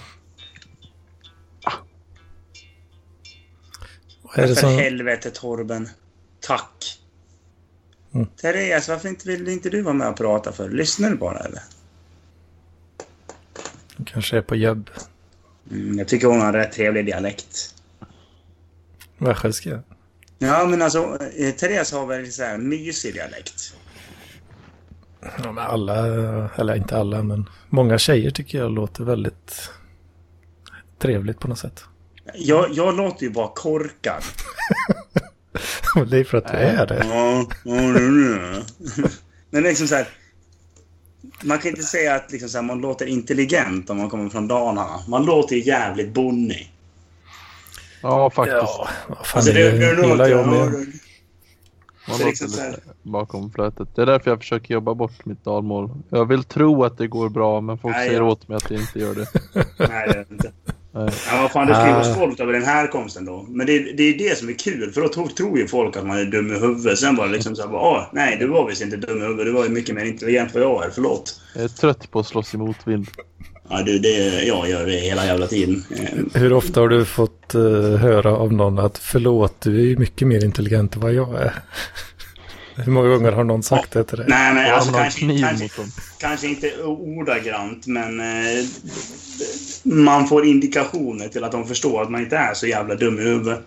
Vad är det
För
som...
helvete Torben. Tack.
Mm.
Therese, varför inte, vill inte du vara med och prata för? Lyssnar du bara eller?
Kanske är på jobb.
Mm, jag tycker hon har en rätt trevlig dialekt.
Västgötska.
Ja, men alltså, eh, Therese har väl så här mysig dialekt.
Ja, men alla, eller inte alla, men många tjejer tycker jag låter väldigt trevligt på något sätt.
Jag, jag låter ju bara korkad.
Men det är för att du är det.
Ja, ja, det är det. Men liksom så här, man kan inte säga att liksom så här, man låter intelligent om man kommer från Dalarna. Man låter ju jävligt bonnig.
Ja, faktiskt.
Ja, vad
Alltså,
fan Alltså, det, det gillar jag med.
Man
Så
låter
liksom så här-
lite bakom flötet. Det är därför jag försöker jobba bort mitt dalmål. Jag vill tro att det går bra, men folk
Nej,
säger
ja.
åt mig att det inte gör det.
Nej, det är det inte.
Nej.
Ja, vad fan, du ska ju vara
Ah.
stolt över den här konsten då. Men det, det är det som är kul, för då tror, tror ju folk att man är dum i huvudet. Sen bara liksom så här, bara, "Ah, nej, du var visst inte dum i huvudet. Du var ju mycket mer intelligent än vad jag är. Förlåt.
Jag är trött på att slåss i motvind.
Ja, du, det, jag gör det hela jävla tiden. Eh,
Hur ofta har du fått eh, höra av någon att förlåt, du är ju mycket mer intelligent än vad jag är? Hur många gånger har någon sagt det till dig?
Nej, men
Jag
alltså
har någon
kanske,
kniv
kanske,
mot dem.
kanske inte ordagrant, men eh, man får indikationer till att de förstår att man inte är så jävla dum i huvudet.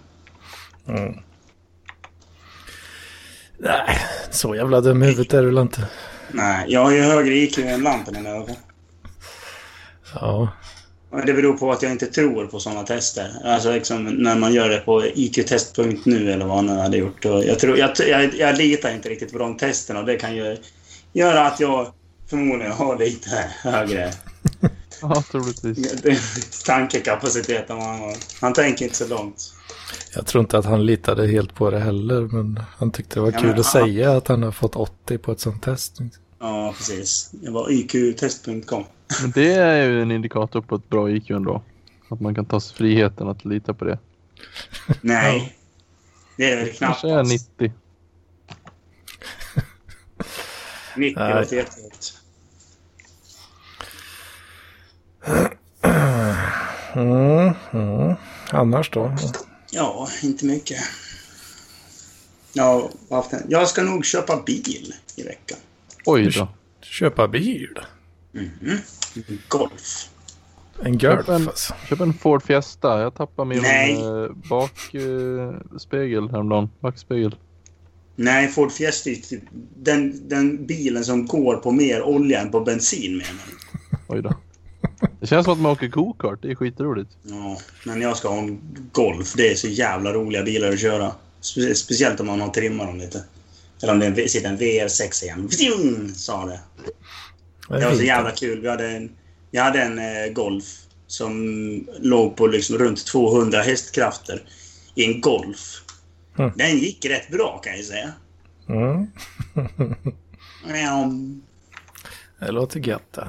Nej, så jävla dum i huvudet är du väl inte?
Nej, jag har ju högre IQ än lampen i alla fall.
Ja,
Men Det beror på att jag inte tror på sådana tester. Alltså liksom när man gör det på IQ-test.nu eller vad man hade gjort. Och Jag, tror, jag, jag, jag litar inte riktigt på de testerna och det kan ju göra att jag förmodligen har lite högre
Ja, troligtvis.
tankekapacitet än vad han har. Han tänker inte så långt.
jag tror inte att han litade helt på det heller, men han tyckte det var
Ja,
kul
men
att
han-
säga att han har fått 80 på ett sånt test.
Ja, precis. Det var IQ-test.com.
Men det är ju en indikator på ett bra IQ ändå. Att man kan ta sig friheten att lita på det.
Nej. Det är väl knappt.
Kanske är 90.
90
Nej.
låter jättehögt.
Mm, mm. Annars då?
Ja, inte mycket. Jag, har haft en... jag ska nog köpa bil i veckan.
Oj då.
Köpa bil?
Golf.
En Golf
Köp en-
alltså.
Köp en Ford Fiesta. Jag tappade min
Nej.
eh, bakspegel häromdagen. Backspegel.
Nej, Ford Fiesta är ju typ den, den bilen som går på mer olja än på bensin menar jag.
Oj då. Det känns som att man åker go-kart. Det är skitroligt.
Ja, men jag ska ha en Golf. Det är så jävla roliga bilar att köra. Spe- speciellt om man har trimmat dem lite. Eller om det är en V- sitter en VR6 igen. Vjung, sa det.
Det
Det
är
var så
fint.
jävla kul. Vi hade en, jag hade en eh, Golf som låg på liksom runt 200 hästkrafter i en Golf.
Mm.
Den gick rätt bra kan jag ju säga.
Mm.
Men
Det låter gött det.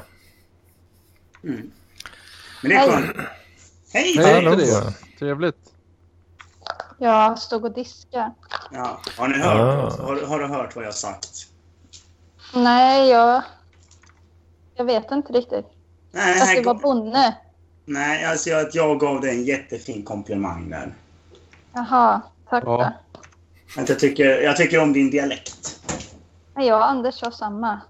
men det är
Hej.
skönt. Hej!
Hej,
Hej.
Hallå.
Therese. Trevligt.
Jag stod och diskade.
Ja, har, ni hört,
Ah.
har, har du hört vad jag har sagt?
Nej, jag... Jag vet inte riktigt.
Nej,
Jag
här,
ska vara bonde.
nej alltså jag, jag gav dig en jättefin komplimang där.
Jaha, tack
Ja.
då.
Att jag, tycker, jag tycker om din dialekt.
Nej, Jag och Anders har samma.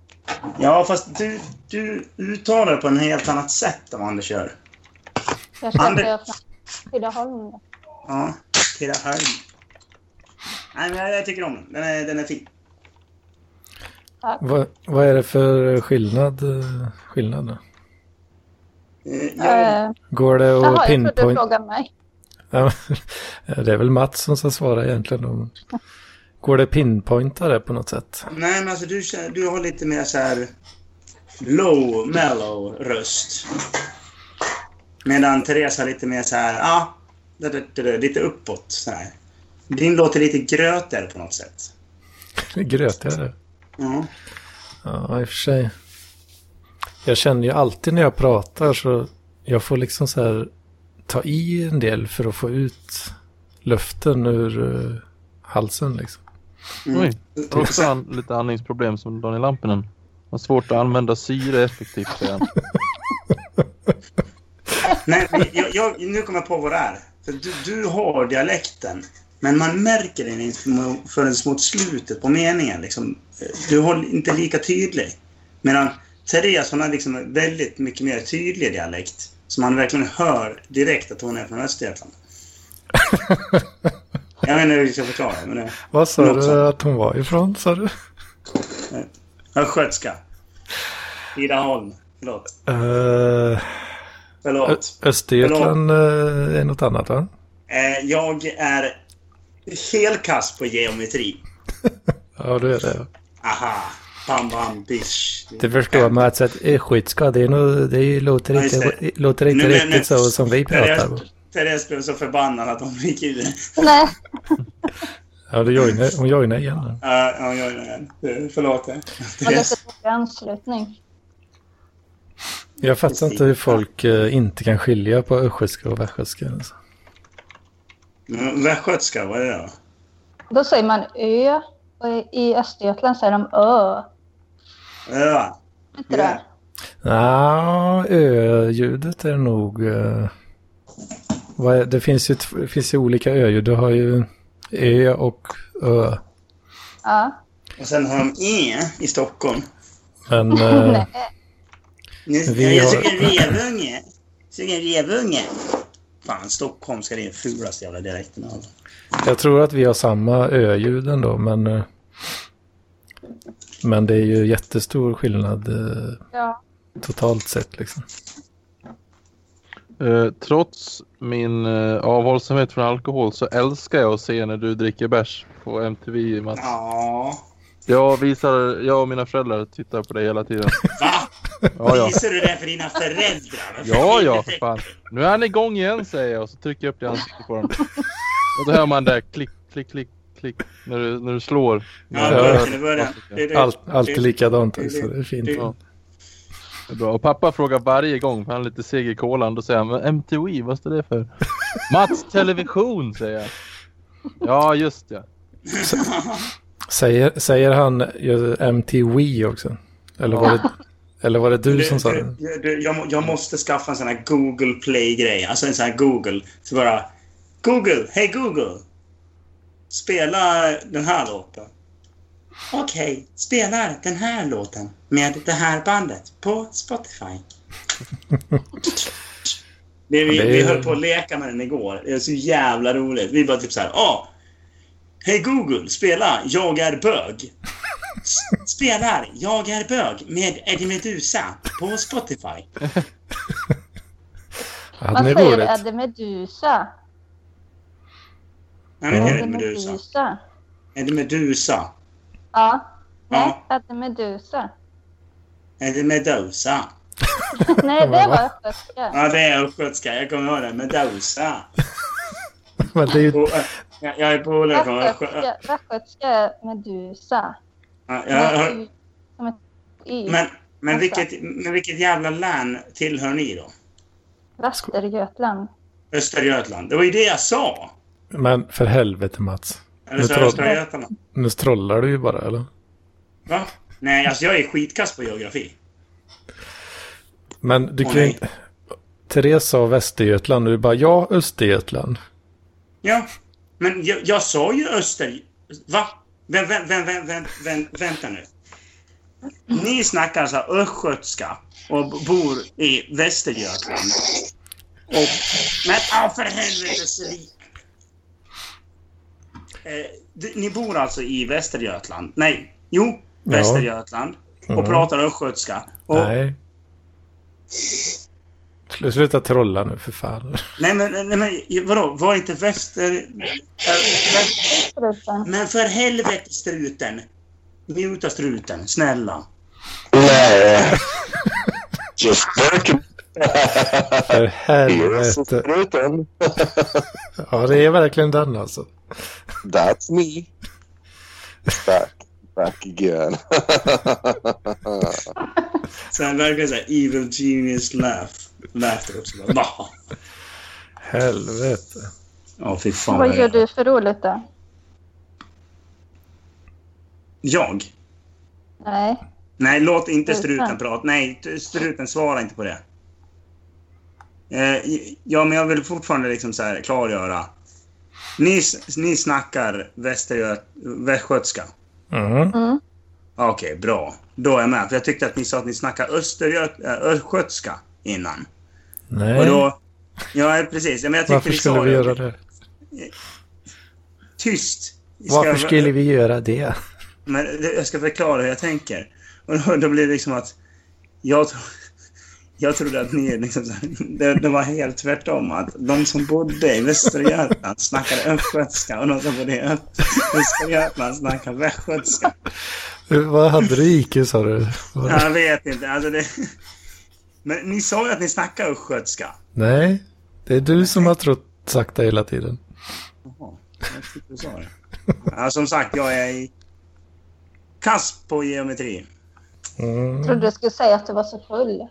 Ja, fast du, du uttalar på en helt annat sätt än vad Anders gör.
Jag ska
Anders-
säga från Tidaholm.
Ja, Tidaholm. Nej, men jag, jag tycker om den. Den är, den är fin.
Vad, vad är det för skillnad? eh, skillnad då?
Eh, Jag,
Ja.
Går det
Jaha,
att
jag trodde du
pinpoint...
frågade mig.
Ja, det är väl Mats som ska svara egentligen. Om... Går det att pinpointa det på något sätt?
nej, men alltså du, känner- du har lite mer så här low, mellow röst. Medan Therese har lite mer så här, ja, da, da, da, da, lite uppåt. Så här. Din låter lite gröter på något sätt.
Grötigare.
Ja.
Ja, i och för sig. Jag känner ju alltid när jag pratar så jag får liksom så här ta i en del för att få ut luften ur eh, halsen liksom.
Mm.
Oj. Det var också an- lite andningsproblem som Daniel Lampinen. Har svårt att använda syre effektivt, säger han.
Nej, men jag, jag, nu kommer jag på vad det är. För du, du har dialekten, men man märker den inte förmo- förrän mot slutet på meningen. Liksom. Du har inte lika tydlig. Medan Therese, hon har liksom väldigt mycket mer tydlig dialekt. Så man verkligen hör direkt att hon är från Östergötland. jag vet inte hur jag ska förklara. Men det,
Vad sa
Något sånt.
du att hon var ifrån sa du?
Östgötska. Tidaholm. Förlåt.
Eh, Ö-
Förlåt.
Östergötland eh, är något annat va?
Eh, jag är helt kass på geometri.
Ja det är det.
Aha. Bam, bam, bish.
Det förstår man alltså att eh, skitska det, är nog, det låter
Ja,
inte,
just
låter inte
Nu- nu-
riktigt så som vi pratar.
Therese- Therese blev så förbannad att hon gick ur.
Nej.
Ja, det joinar, hon joinar igen.
Ja, ja, ja, ja. Eh, Förlåt. eh.
Och
Therese.
lite dålig anslutning.
Jag fattar inte hur folk eh, inte kan skilja på östgötska och västgötska. Alltså.
Men Västgötska, vad är det då?
Då säger man ö och i- i Östergötland säger de ö.
Ja.
Inte det?
Ja, ö-ljudet är nog... eh, vad är, det finns ju, tv- finns ju olika ö-ljud. Du har ju ö och ö.
Ja.
Och sen har de E i Stockholm.
Men eh,
Nej.
Nu,
Vi
jag
har-
söker en revunge. Jag Söker en revunge. Fan, stockholmska det är den fulaste jävla dialekten av alla.
jag tror att vi har samma ö-ljud ändå, men... eh, men det är ju jättestor skillnad eh,
Ja.
totalt sett liksom.
Eh, trots min eh, avhållsamhet från alkohol så älskar jag att se när du dricker bärs på MTV Mats.
Ja.
Jag visar, jag och mina föräldrar tittar på det hela tiden.
Va?
Ja, ja.
Visar du det för dina föräldrar?
Ja, ja, för fan. Nu är han igång igen säger jag och så trycker jag upp det i ansiktet på honom. Och då hör man det klick, klick, klick, klick när du, när du slår.
Ja, det börjar till början. Det är det.
Allt, alltid
det-
likadant
det-
också, det är fint.
det-
Det är bra. Och pappa frågar varje gång, för han är lite seg i kolan, då säger han "Men MTV, vad står det för? Mats Television säger jag. Ja, just ja.
Säger, säger han ju MTV också? Eller var det, eller var det du som sa det?
Du, du, jag, må- jag måste skaffa en sån här Google Play-grej. Alltså en sån här Google. Så bara... Google! Hej Google! Spela den här låten. Okej, spelar den här låten med det här bandet på Spotify. Det, vi,
Ja, det är-
vi höll på att leka med den igår. Det är så jävla roligt. Vi bara typ så här... Åh! Hej Google, spela Jag är bög. S- Spelar Jag är bög med Eddie Meduza på Spotify.
Hade
Man
ni
säger
roligt?
Eddie Meduza.
Nej, men det är
Eddie
Eddie Meduza.
Meduza.
Eddie Meduza.
Ja. Nej,
Ja.
Eddie Meduza.
Eddie Meduza.
Nej, det
Men va?
var östgötska.
Ja, det är östgötska. Jag kommer ihåg det. Meduza.
Men det är ju
Och, äh, jag, jag är polare från Östgötland.
Västgötska- Västgötska är Meduza.
Ja,
Som
jag-
ett
jag-
U- som ett Y.
Men, men, vilket, men vilket jävla län tillhör ni då?
Västergötland.
Östergötland. Det var ju det jag sa.
Men för helvete Mats.
Eller
Jag
så
tror-
Östra Götaland.
Nu trollar du ju bara eller?
Va? Nej, alltså jag är skitkass på geografi.
Men du
Åh,
kan ju
nej.
inte... Therese sa Västergötland och du bara ja, Östergötland.
Ja, men jag, jag sa ju Öster... Va? Vem, vem, vem, vem, vem, vem, vänta nu. Ni snackar alltså östgötska och b- bor i Västergötland. Och, men ah, för helvetes rik. eh, du- Ni bor alltså i Västergötland? Nej, jo,
Ja.
Västergötland. Och
Mm.
pratar östgötska. Och, nej.
Nej. Slu- Sluta trolla nu för fan.
men, nej, men vadå, var inte Väster... eh, Väst-
Förutom
Men för helvete struten! Muta struten, snälla.
Just spöken
För
är
helvete.
struten.
Ja, det är verkligen den alltså.
That's me. Back, back again.
Så han verkar såhär evil genius laugh. Laughter också. bara, Va?
Helvete.
Ja, fy fan.
Vad gör du för roligt då?
Jag?
Nej.
Nej, låt inte
Struten.
struten prata. Nej, t- struten svara inte på det. Eh, ja, men jag vill fortfarande liksom så här klargöra. Ni, s- ni snackar västergöt- västgötska?
Mm.
Mm.
Ja, Okej, bra. Då är jag med. För jag tyckte att ni sa att ni snackar östergöt- eh, östgötska innan.
Nej.
Och då, ja, precis. Ja, Men jag tyckte
Varför
vi
skulle
sa
vi
det.
göra det?
Tyst! Ska
Varför
jag-
skulle vi göra det?
Men det- jag ska förklara hur jag tänker. Och då, då blir det liksom att jag, tro, jag trodde att ni liksom, så här- det, det var helt tvärtom. Att de som bodde i Västergötland snackade östgötska och de som bodde i Ö- Västergötland snackade västgötska.
Vad hade du i IQ sa du? Var det-
Jag vet inte. Alltså det, men ni sa ju att ni snackade östgötska.
Nej, det är du som har trott sagt det hela tiden.
Jaha, jag tyckte du sa det. Ja, som sagt, jag är i kass på geometri.
Jag
Mm.
trodde du skulle säga att du var så full.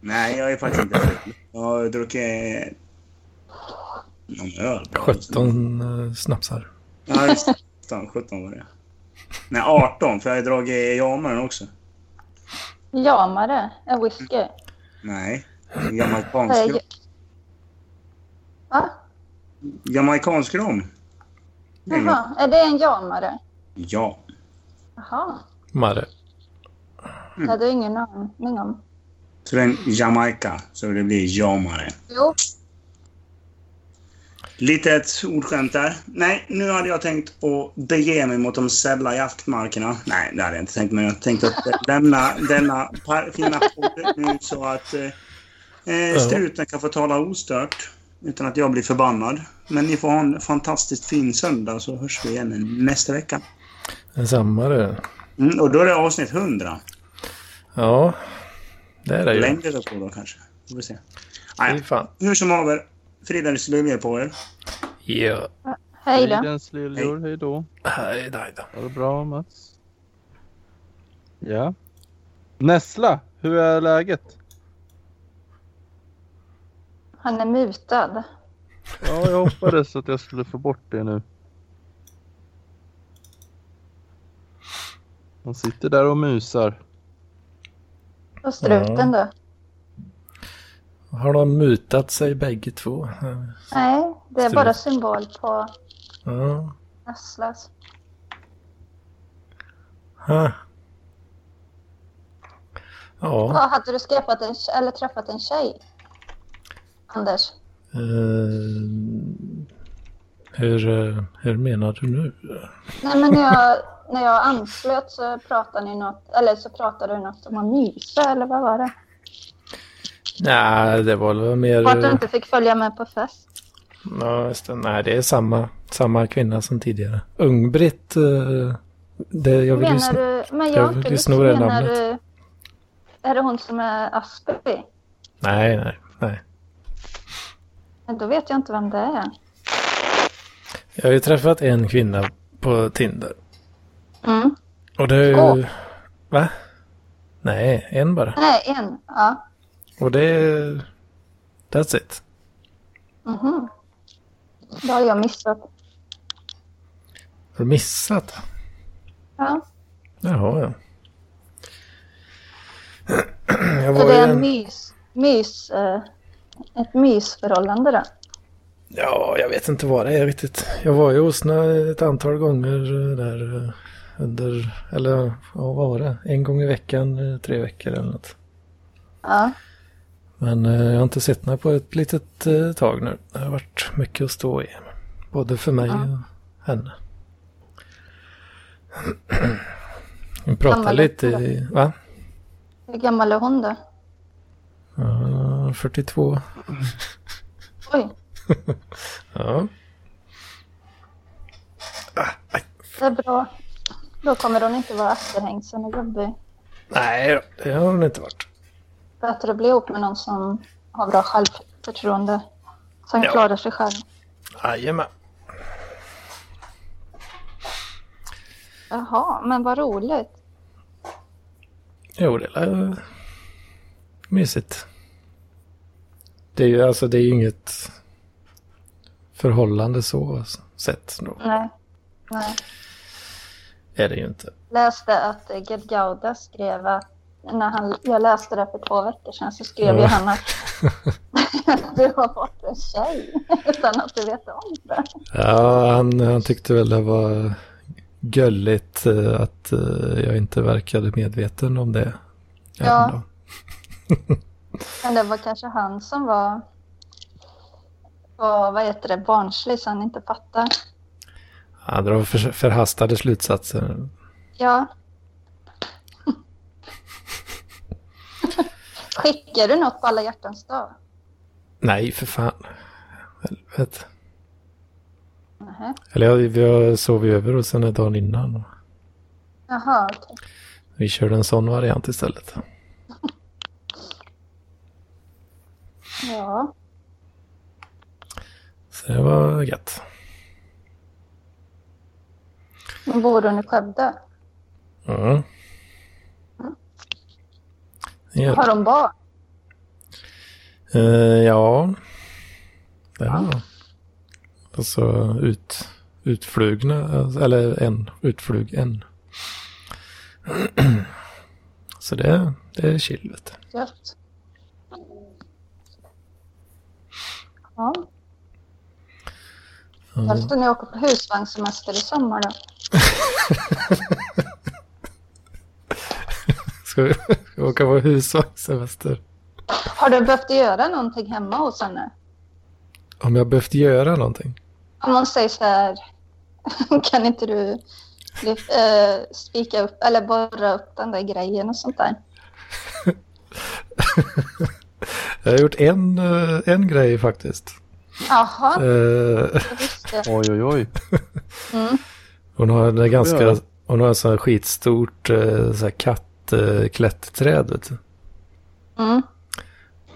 Nej, jag är faktiskt inte full. Jag har druckit någon öl.
17 eh, snapsar.
Ja, just det. 17, 17 var det. Nej, 18, för jag har ju dragit jamaren också.
Jamare? En whisky?
Nej, jamaicansk
Nej,
rom.
Va?
Jamaicansk rom?
Jaha, är det en jamare?
Ja.
Jaha,
Marre.
Mm.
det hade jag ingen aning om.
Så det är en Jamaica, så det blir jamare.
Jo,
Litet ordskämt där. Nej, nu hade jag tänkt att bege mig mot de sälla jaktmarkerna. Nej, det hade jag inte tänkt, men jag tänkte att lämna denna par- fina podd nu så att eh, eh, struten kan få tala ostört utan att jag blir förbannad. Men ni får ha en fantastiskt fin söndag så hörs vi igen nästa vecka.
Samma du.
Mm, och då är det avsnitt 100.
Ja, det är det ju.
Längre så på då kanske. Vi får se.
Fy
Nej,
fan.
hur som haver, fridens liljer på er.
Ja.
hej då.
Fridens liljor, hej då.
Hej då, hej då.
Ha det bra Mats. Ja. Nessla, hur är läget?
Han är mutad.
Ja, jag hoppades att jag skulle få bort det nu. Han sitter där och musar.
Och struten då?
Har de mutat sig bägge två? Ja.
Nej, det är
Strut.
bara symbol på
Ja.
Nesslas.
Ha. Ja.
Ja, hade du skaffat en, eller träffat en tjej? Anders?
eh, hur, eh, hur menar du nu?
Nej, men när jag, när jag anslöt så pratade ni något, eller så pratade du något om att mysa, eller vad var det?
Nej, det var väl mer... eh,
Och att du inte fick följa med på fest.
Ja, just det. Nej, det är samma, samma kvinna som tidigare. Ung-Britt. eh, Det, jag vill ju
Menar
sn-
du, men
jag
jag har inte
vill ju
lyssnat.
sno det
Menar
namnet.
du, är det hon som är Aspby?
Nej, nej, nej.
Men då vet jag inte vem det är.
Jag har ju träffat en kvinna på Tinder.
Mm.
Och det är ju...
Åh.
Va? Nej, en bara.
Nej, en. Ja.
Och det är... That's it.
Mhm. Då har jag missat.
Har du missat?
Ja.
Jaha, ja. Jag
Så
var
det
ju
är en
en...
mys, mys, eh, ett mysförhållande då?
Ja, jag vet inte vad det är riktigt. Jag var ju hos henne ett antal gånger eh, där eh, under... Eller ja, vad var det? En gång i veckan, eh, tre veckor eller något.
Ja.
Men eh, jag har inte sett henne på ett litet eh, tag nu. Det har varit mycket att stå i. Både för mig
Ja.
och henne. Vi pratade
Gammal
lite
är hon
i... Va?
Hur gammal är hon då?
Ja, 42.
Oj,
Ja.
det är bra. Då kommer hon inte vara efterhängsen och jobbig.
Nej då, det har hon inte varit.
Bättre att bli ihop med någon som har bra självförtroende. Som
Ja.
klarar sig själv.
Jajamän.
Jaha, men vad roligt.
Jo, det är mysigt. Det är ju alltså, det är ju inget förhållande så sett. Då.
Nej. Nej.
Är det ju inte.
läste att eh, Gerd Gauda skrev att när han, jag läste det för två veckor sedan så skrev ju
Ja.
han att du har fått en tjej utan att du vet om det.
Ja, han, han tyckte väl det var gulligt eh, att eh, jag inte verkade medveten om det.
Ja.
Även då.
Men det var kanske han som var, var vad heter det, barnslig så han inte fattar.
Han drar för, förhastade slutsatser.
Ja. Skickar du något på alla hjärtans dag?
Nej, för fan. Helvete.
Nähä.
Eller ja, vi har sovit över och sen är dagen innan.
Jaha, okej.
Vi körde en sån variant istället.
Ja.
Så det var gött.
Men bor hon i Skövde?
Mm. Ja.
Har de barn?
Eh, ja. Det har de. Alltså ut, utflugna, alltså, eller en utflug, en. Så det, det är chill vet du.
Gött. Ja.
Ja.
Helst när jag åker på husvagnssemester i sommar då.
Ska vi, ska vi åka på husvagnssemester?
Har du behövt göra någonting hemma hos henne?
Om jag behövt göra någonting?
Om hon säger så här, kan inte du lyf- eh, spika upp eller borra upp den där grejen och sånt där?
Jag har gjort en, eh, en grej faktiskt.
Jaha,
Eh,
just det.
Oj, oj, oj.
Mm.
Hon har en ganska,
göra.
hon har en sån här skitstort eh, så här kattklättträd. vet du.
Mm.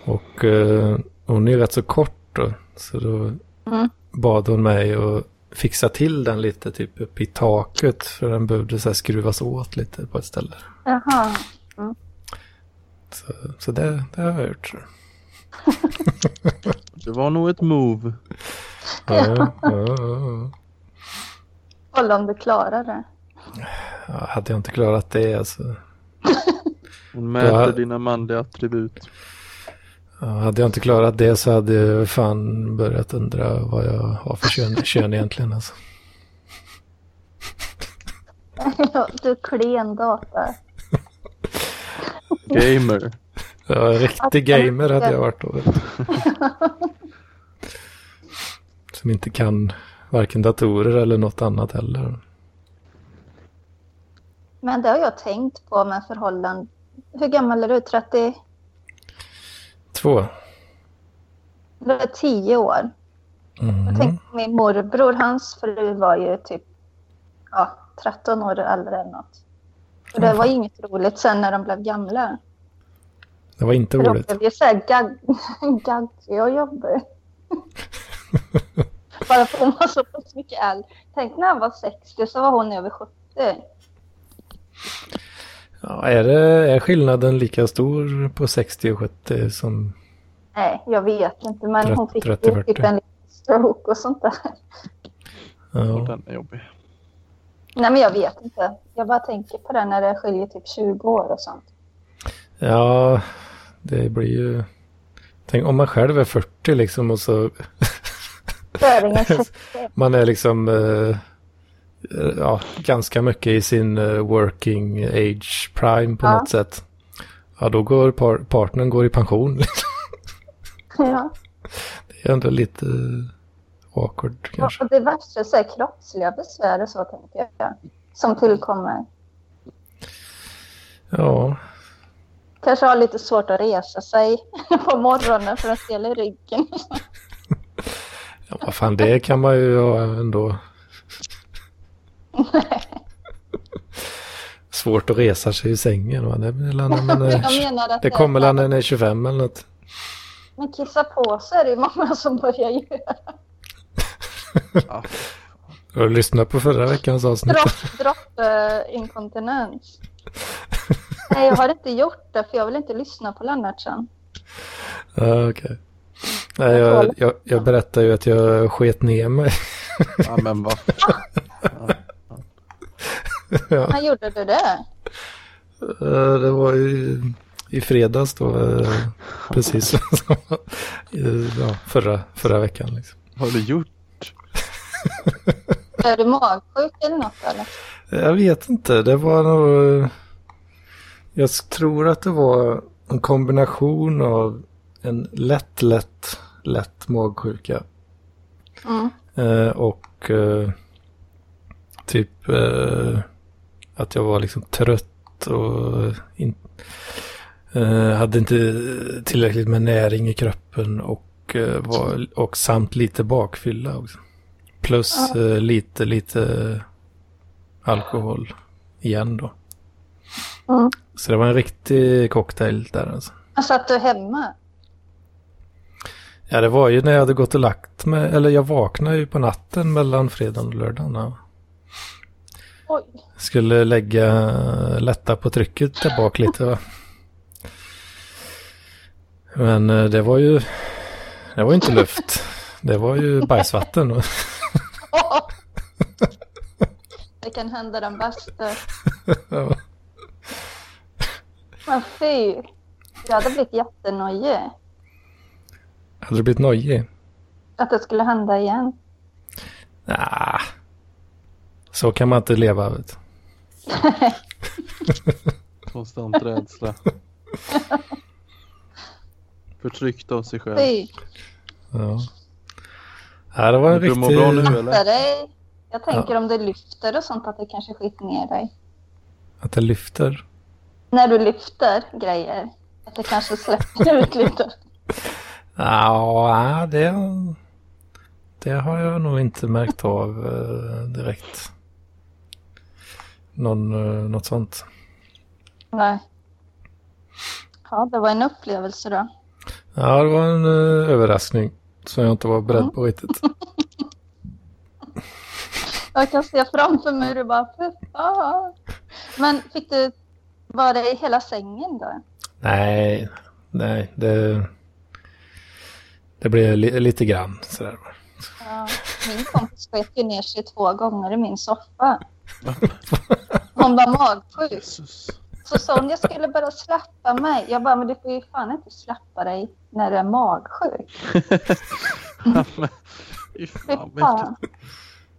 Och eh, hon är ju rätt så kort då. Så då
Mm.
bad hon mig att fixa till den lite typ upp i taket. För den behövde så här skruvas åt lite på ett ställe.
Jaha.
Så, så det, det har jag gjort.
Det var nog ett move.
Ja, ja, ja, ja.
Kolla om du klarar det.
Ja, hade jag inte klarat det alltså.
Hon mäter
Ja.
dina manliga attribut.
Ja, hade jag inte klarat det så hade jag fan börjat undra vad jag har för kön, kön egentligen alltså.
du är klen data.
Gamer.
Ja, en riktig gamer hade jag varit då. Som inte kan varken datorer eller något annat heller.
Men det har jag tänkt på med förhållanden. Hur gammal är du? 30?
Två.
Du är 10 år. Jag
Mhm.
tänkte på min morbror, hans fru var ju typ ja, 13 år äldre eller något. Och det
Mm.
var inget roligt sen när de blev gamla.
Det var inte
För de
roligt.
blev ju så här gag- gaggiga och jobbiga. Bara för hon var så pass mycket äldre. Tänk när han var 60 så var hon över 70.
Ja, är, det, är skillnaden lika stor på 60 och 70 som...
Nej, jag vet inte. Men hon fick ju
30-40.
typ en liten stroke och sånt där.
Och
Ja,
Den är jobbig.
Nej, men jag vet inte. Jag bara tänker på det när det skiljer typ 20 år och sånt.
ja det blir ju... Tänk om man själv är 40 liksom och så
Föringen
Man är liksom eh, eh, ja, ganska mycket i sin eh, working age prime på
Ja.
något sätt. Ja, då går par partnern går i pension.
ja.
det är ändå lite eh, awkward kanske.
Och diverse så här, kroppsliga besvär och så tänker jag. Som tillkommer.
Ja,
Kanske har lite svårt att resa sig på morgonen för att stel i ryggen.
ja vad fan det kan man ju ha ändå. Svårt att resa sig i sängen. Va? Det, blir väl när man är,
menar att
eh, det kommer väl när man är 25 eller något.
Men kissa på sig är det ju många som börjar göra.
Jag lyssnade på förra veckans avsnitt.
Dropp, dropp, eh, inkontinens. Nej, jag har inte gjort det för jag vill inte lyssna på Lennartsen.
Ja, okej. Nej, jag, jag, jag berättade ju att jag sket ner mig.
Ja, men vad
ja.
När gjorde du det?
Eh, Det var i, i fredags då, eh, precis som eh, ja, förra, förra veckan. Liksom.
har du gjort?
Är du magsjuk eller något eller?
Jag vet inte, det var nog... eh, Jag s- tror att det var en kombination av en lätt, lätt, lätt magsjuka.
Mm.
Eh, och eh, typ eh, att jag var liksom trött och in, eh, hade inte tillräckligt med näring i kroppen och, eh, var, och samt lite bakfylla också. Plus eh, lite, lite alkohol igen då.
Mm.
Så det var en riktig cocktail där alltså.
Alltså att du är hemma.
Ja, det var ju när jag hade gått och lagt mig, eller jag vaknade ju på natten mellan fredagen och lördagen. Ja.
Oj.
Skulle lägga, lätta på trycket där bak lite va. Men eh, det var ju, det var ju inte luft. Det var ju bajsvatten. va.
Det kan hända den värsta.
Ja.
Men fy. Jag hade blivit jättenojig
Hade du blivit nojig?
att det skulle hända igen.
Nah. Så kan man inte leva. Vet. du.
Konstant rädsla. Förtryckt av sig själv.
Fy.
Ja. Ja, det var en
Du mår
riktig...
bra nu
För
eller?
dig. Jag tänker om du lyfter och sånt att det kanske skiter ner dig.
Att jag lyfter.
När du lyfter grejer. Att det kanske släpper ut lite.
Ja, det, det har jag nog inte märkt av eh, direkt. Någon, eh, något sånt.
Nej. Ja, det var en upplevelse då.
Ja, det var en eh, överraskning som jag inte var beredd på riktigt.
Jag kan se framför mig hur du bara fy fan. Men fick du, var det i hela sängen då?
Nej, nej, det, det blev li, lite grann sådär.
Ja, min kompis sket ju ner sig två gånger i min soffa. Hon var magsjuk.
Jesus.
Så sa hon, jag skulle bara släppa mig. Jag bara, men du får ju fan inte släppa dig när du är magsjuk.
Fy
Fy
fan, vilket-
fan.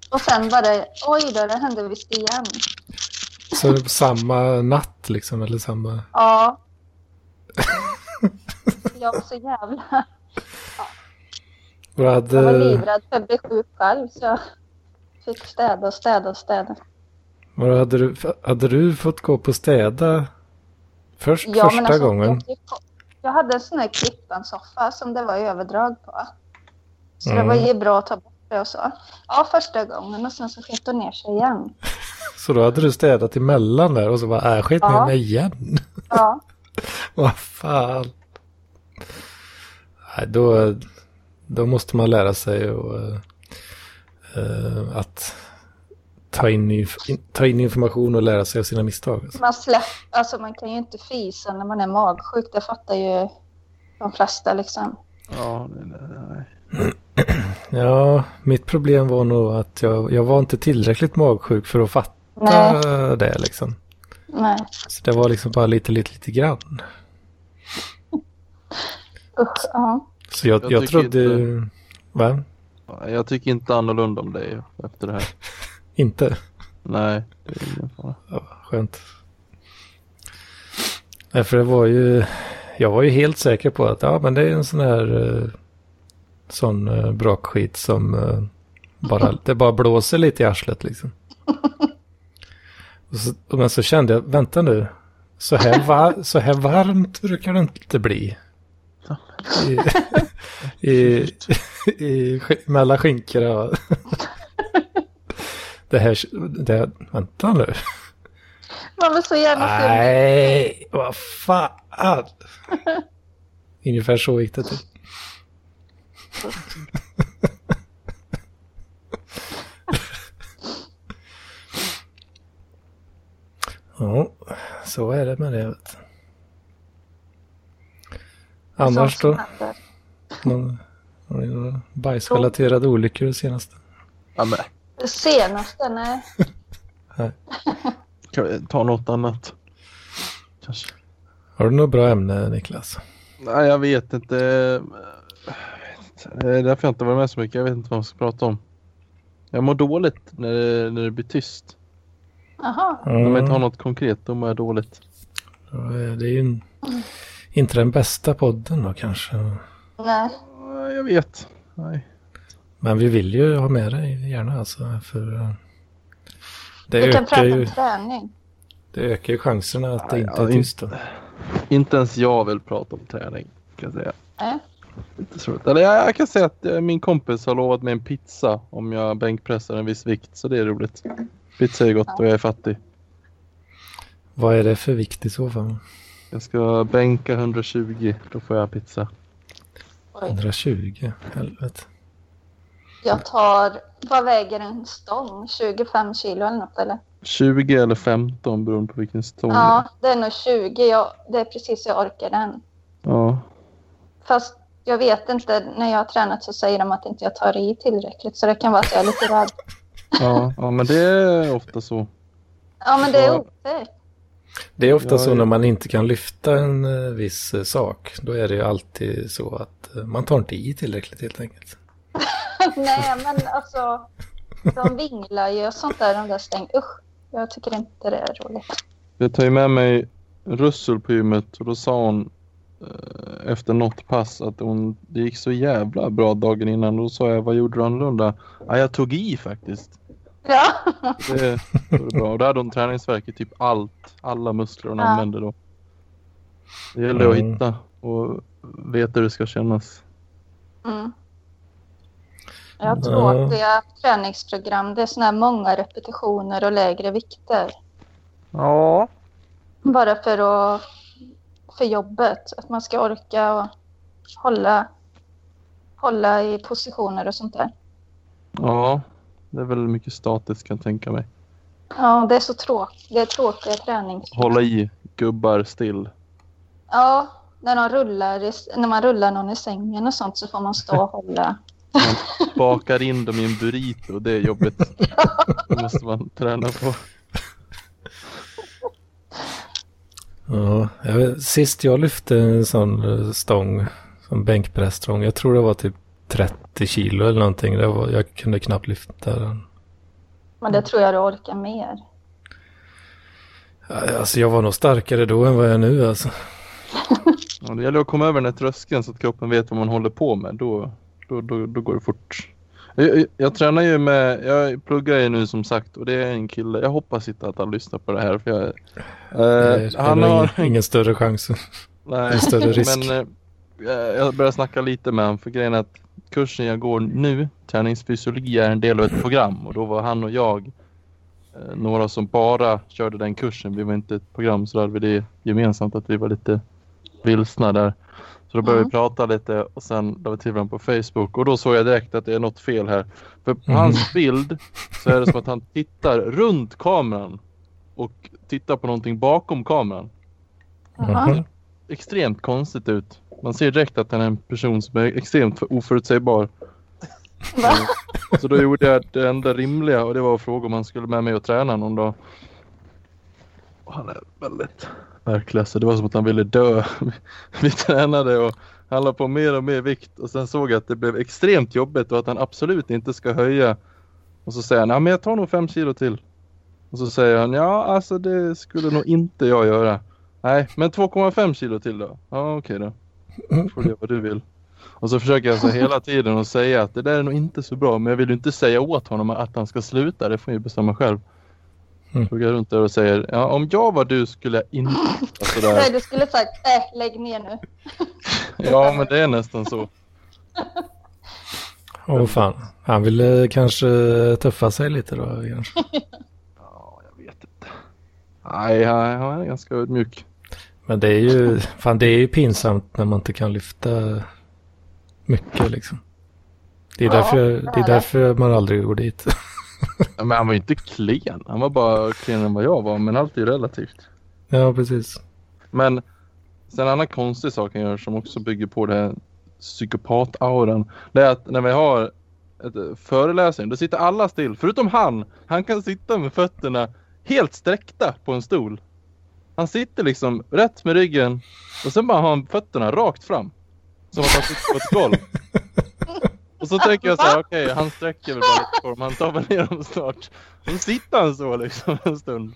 Och sen var det, oj då, det hände visst igen.
Så det var samma natt liksom, eller samma...
Ja. Jag var så jävla...
Jag
Jag var
hade,
livrädd för att bli sjuk själv så jag fick städa och städa och städa.
vad hade, du, hade du fått gå på städa först,
Ja, men
första
alltså,
gången?
Jag, jag hade en sån här klippansoffa som det var överdrag på. Så
Mm.
det var ju bra att ta bort det och så. Ja, första gången och sen så sket hon ner sig igen.
Så då hade du städat emellan där och så bara, äh, skit ner
Ja.
mig igen.
Ja,
Vad fan. Nej, då, då måste man lära sig och, eh, att ta in, inf- in, ta in information och lära sig av sina misstag. Alltså.
man släpp, alltså man kan ju inte fisa när man är magsjuk. Det fattar ju de flesta liksom.
Ja, nej, nej, nej.
Ja, mitt problem var nog att jag, jag var inte tillräckligt magsjuk för att fatta
Nej,
det liksom.
nej.
Så det var liksom bara lite, lite, lite grann.
Usch, ja.
Så jag, jag,
Jag tycker
trodde... Va?
Ja, Jag tycker inte annorlunda om dig efter det här.
Inte?
Nej, det är ingen fara.
Ja, skönt. Nej, för det var ju... Jag var ju helt säker på att ja, men det är en sån här... eh, Sån eh, brakskit som eh, bara... Det bara blåser lite i arslet liksom. Och så, och men så kände jag, vänta nu. Så här, var, så här varmt brukar det inte bli. I, i, i, sk- mellan skinkorna. va? Det här... Det, vänta nu.
Man vill så gärna se.
Nej, vad fan. Ungefär så gick det till. Ja, så är det med det. vet du. Annars
sånt
då?
som händer.
Någon, har ni några bajsrelaterade olyckor det senaste?
Ja, men,
Det senaste, nej.
kan vi ta något annat? Kanske.
Har du något bra ämne Niklas?
Nej, jag vet inte. Det är därför jag inte varit med så mycket. Jag vet inte vad man ska prata om. Jag mår dåligt när det, när det blir tyst.
Jaha.
Om jag inte har något konkret, då mår jag dåligt.
Ja, Det är ju en Inte den bästa podden då kanske.
Nej.
Nej, jag vet. Nej.
Men vi vill ju ha med dig gärna alltså. För eh, det
Vi kan
ökar,
prata
ju,
om träning.
det ökar ju chanserna att det inte är
ja,
tyst. Då.
Inte ens jag vill prata om träning. Kan jag säga.
Nej.
Lite svårt. Eller jag, jag kan säga att eh, min kompis har lovat mig en pizza om jag bänkpressar en viss vikt. Så det är roligt. Pizza är gott och jag är fattig.
Vad är det för vikt i så fall?
Jag ska bänka 120. Då får jag pizza.
Oj.
120? Helvete.
Jag tar, vad väger en stång? 25 kilo eller något eller?
Oh.
20 eller 15 beroende på vilken stång det är.
Ja, det är nog 20. Jag, det är precis jag orkar den.
ja.
Fast jag vet inte, när jag har tränat så säger de att inte jag tar i tillräckligt. Så det kan vara att jag är lite rädd.
Ja, ja, men det är ofta så.
Ja, men det är
Ja.
otäckt.
Det är ofta
Ja,
så
det-
när man inte kan lyfta en eh, viss eh, sak. Då är det ju alltid så att eh, man tar inte i tillräckligt helt enkelt.
Nej, men alltså. De vinglar ju och sånt där, de där stäng. Usch, jag tycker inte det är roligt.
Jag tar ju med mig Russel på gymmet och då sa hon eh, efter något pass att hon, det gick så jävla bra dagen innan. Då sa jag, vad gjorde du annorlunda? Ja, jag tog i faktiskt.
Ja,
Det var bra. Och då hade hon träningsvärk i typ allt, alla muskler hon
Ja.
använde då. Det gäller att
Mm.
hitta och veta hur det ska kännas.
mm. Jag har tråkiga träningsprogram. Det är såna här många repetitioner och lägre vikter.
Ja.
Bara för, att, för jobbet. Att man ska orka och hålla, hålla i positioner och sånt där.
Ja, det är väl mycket statiskt kan jag tänka mig.
Ja, det är så tråkigt. Det är tråkiga träning.
Hålla i gubbar still.
Ja, när, de rullar i, när man rullar någon i sängen och sånt så får man stå och hålla.
bakar in dem i en burrito, det är jobbigt. Det måste man träna på.
Ja, jag vet, sist jag lyfte en sån eh, stång, som bänkpressstång, jag tror det var typ 30 kilo eller någonting. Det var, jag kunde knappt lyfta den.
Men det tror jag du orkar mer.
Ja, Alltså jag var nog starkare då än vad jag är nu alltså.
Ja, det gäller att komma över den här tröskeln så att kroppen vet vad man håller på med. Då, då, då, då går det fort. Jag, jag, jag tränar ju med, jag pluggar ju nu som sagt och det är en kille, jag hoppas inte att han lyssnar på det här. För jag,
Det
eh,
är
han
nog
har
ingen, ingen större chans.
Nej,
en större risk.
Men eh, jag- jag börjar snacka lite med honom för grejen är att kursen jag går nu, träningsfysiologi, är en del av ett program och då var han och jag eh, några som bara körde den kursen. Vi var inte ett program så då hade vi det gemensamt att vi var lite vilsna där. Så då började
Mm.
vi prata lite och sen la vi till varandra på Facebook och då såg jag direkt att det är något fel här. För på
Mhm.
hans bild så är det som att han tittar runt kameran och tittar på någonting bakom kameran
Jaha.
Mhm.
extremt konstigt ut. Man ser direkt att han är en person som är extremt för- oförutsägbar. Eh,
Va?
Så då gjorde jag det enda rimliga och det var att fråga om han skulle med mig och träna någon dag. Och han är väldigt verklig. Så det var som att han ville dö. Vi tränade och han la på mer och mer vikt och sen såg jag att det blev extremt jobbigt och att han absolut inte ska höja. Och så säger han, ja men jag tar nog fem kilo till. Och så säger han, ja alltså det skulle nog inte jag göra. Nej, men 2,5 kilo till då? Ja, okej då. Då får du göra vad du vill. Och så försöker jag så hela tiden att säga att det där är nog inte så bra. Men jag vill ju inte säga åt honom att han ska sluta. Det får han ju bestämma själv.
Mm.
Så går jag runt där och säger, ja, om jag var du skulle jag inte göra sådär.
Nej, du skulle sagt äh, lägg ner nu.
Ja, men det är nästan så.
Åh fan. Han ville kanske eh, tuffa sig lite då kanske.
Ja, jag vet inte. Nej, han han är ganska ödmjuk.
Men det är ju, fan det är ju pinsamt när man inte kan lyfta mycket liksom. Det är,
Ja,
därför,
det
det
är
är
det.
därför man aldrig går dit.
Ja, Men han var ju inte klen. Han var bara klenare än vad jag var. Men allt är ju relativt.
Ja, precis.
Men sen en annan konstig sak han gör som också bygger på den här psykopatauran. Det är att när vi har ett eh, föreläsning då sitter alla still förutom han. Han kan sitta med fötterna helt sträckta på en stol. Han sitter liksom rätt med ryggen och sen bara har han fötterna rakt fram. Som att han sitter på ett golv. Och så tänker jag så här, okej han sträcker väl bara lite på dem, han tar väl ner dem snart. Och så sitter han så liksom en stund.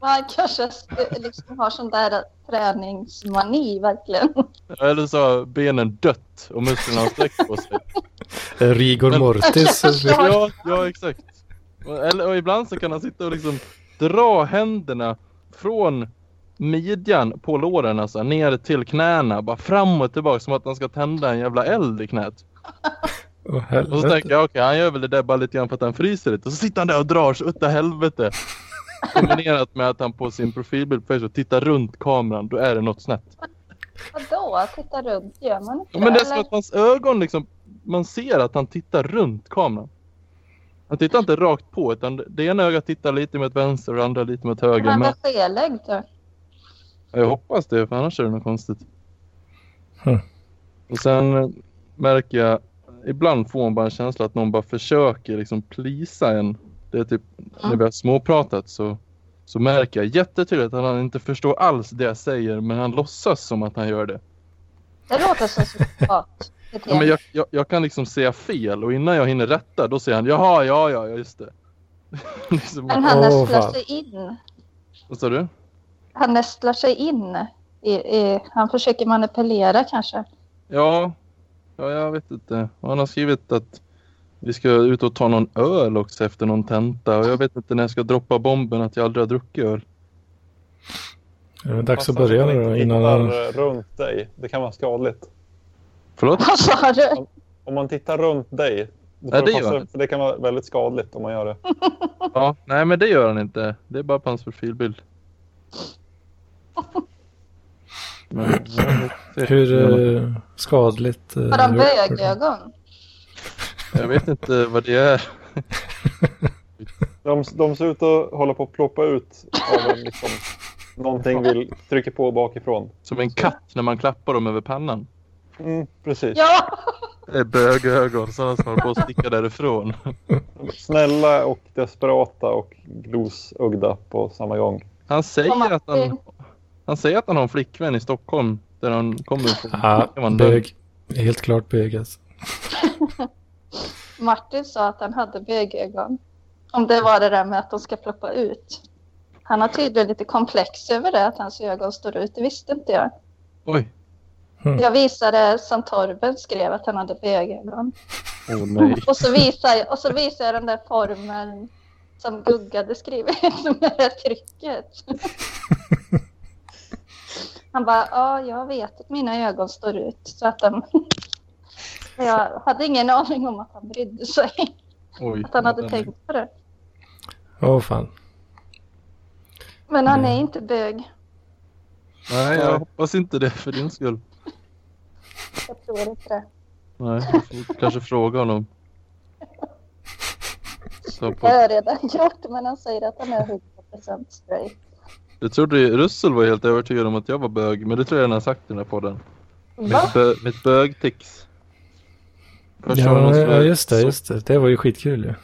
Man kanske sk- liksom har sån där träningsmani verkligen.
Eller så har benen dött och musklerna har sträckt på sig.
Eh, Rigor mortis.
Ja, ja exakt. Och- Eller, och ibland så kan han sitta och liksom dra händerna från midjan på låren alltså ner till knäna bara fram och tillbaka som att han ska tända en jävla eld i knät.
Åh,
Och så
helvete.
tänker jag okej han gör väl det där bara lite grann för att han fryser lite och så sitter han där och drar så utta helvete. Kombinerat med att han på sin profilbild på Facebook tittar runt kameran då är det något snett.
Vadå? Titta runt, gör man inte
Ja, men det är som
eller?
att hans ögon liksom, man ser att han tittar runt kameran. Han tittar inte rakt på utan det ena ögat tittar lite mot vänster och det andra lite mot
Är
höger.
Han
Men
var skelögd då.
jag hoppas det för annars är det något konstigt.
Hmm.
Och sen eh, märker jag, ibland får man bara en känsla att någon bara försöker liksom plisa en. Det är typ när vi har småpratat så, så märker jag jättetydligt att han inte förstår alls det jag säger men han låtsas som att han gör det.
Det låter som psykopat.
Ja, men jag, jag, jag kan liksom säga fel och innan jag hinner rätta då säger han jaha, ja, ja, ja just det. liksom,
Men han
Åh,
nästlar
fan.
sig in.
vad sa du?
Han nästlar sig in. I, i, han försöker manipulera kanske.
Ja, ja, jag vet inte. Och Han har skrivit att vi ska ut och ta någon öl också efter någon tenta och jag vet inte när jag ska droppa bomben att jag aldrig har druckit öl.
Det är dags att
Fast
börja
han
nu
inte
då, innan
tittar,
han...
eh, runt dig. Det kan vara skadligt.
Förlåt?
Vad sa du?
Om man tittar runt dig. Då får
Ja,
du
det gör
passa-
det.
för det kan vara väldigt skadligt om man gör det.
Ja, nej men det gör han inte. Det är bara på hans profilbild. Men,
Hur eh, skadligt... eh,
Har han
gjort-
bögögon?
Jag vet inte vad det är.
De, de ser ut att hålla på att ploppa ut av en, liksom, någonting vill trycka på bakifrån.
Som en katt när man klappar dem över pannan.
Mm, precis.
Ja!
Det är bögögon, sådana som håller på att sticka därifrån.
Snälla och desperata och glosögda på samma gång.
Han
Om man-
säger, att han, han säger att han har en flickvän i Stockholm där han kommer ifrån. Det var
Ja,
en
bög. Helt klart bög alltså.
Martin sa att han hade bögögon. Om det var det där med att de ska ploppa ut. Han har tydligen lite komplex över det, att hans ögon står ut. Det visste inte jag.
Oj.
Jag visade som Torben skrev att han hade bögögon.
Åh nej.
Och så visade jag, och så visade jag den där formeln som Gugga hade skrivit med det här trycket. Han bara, ja, jag vet att mina ögon står ut. Så att de... Men Jag hade ingen aning om att han brydde sig,
Oj.
att han hade tänkt på det.
Åh fan.
Men han är inte bög,
Nej, jag hoppas inte det för din skull.
jag tror inte det.
Nej, jag får kanske fråga honom. Så
Det har
på,
jag redan gjort, men han säger att han är 100% straight.
jag trodde ju Russell var helt övertygad om att jag var bög, men det tror jag han har sagt i den här podden.
Va?
Mitt, bö, mitt bögtics. Först var någon
Ja,
som-
ja, just det, just det. Det var ju skitkul ju.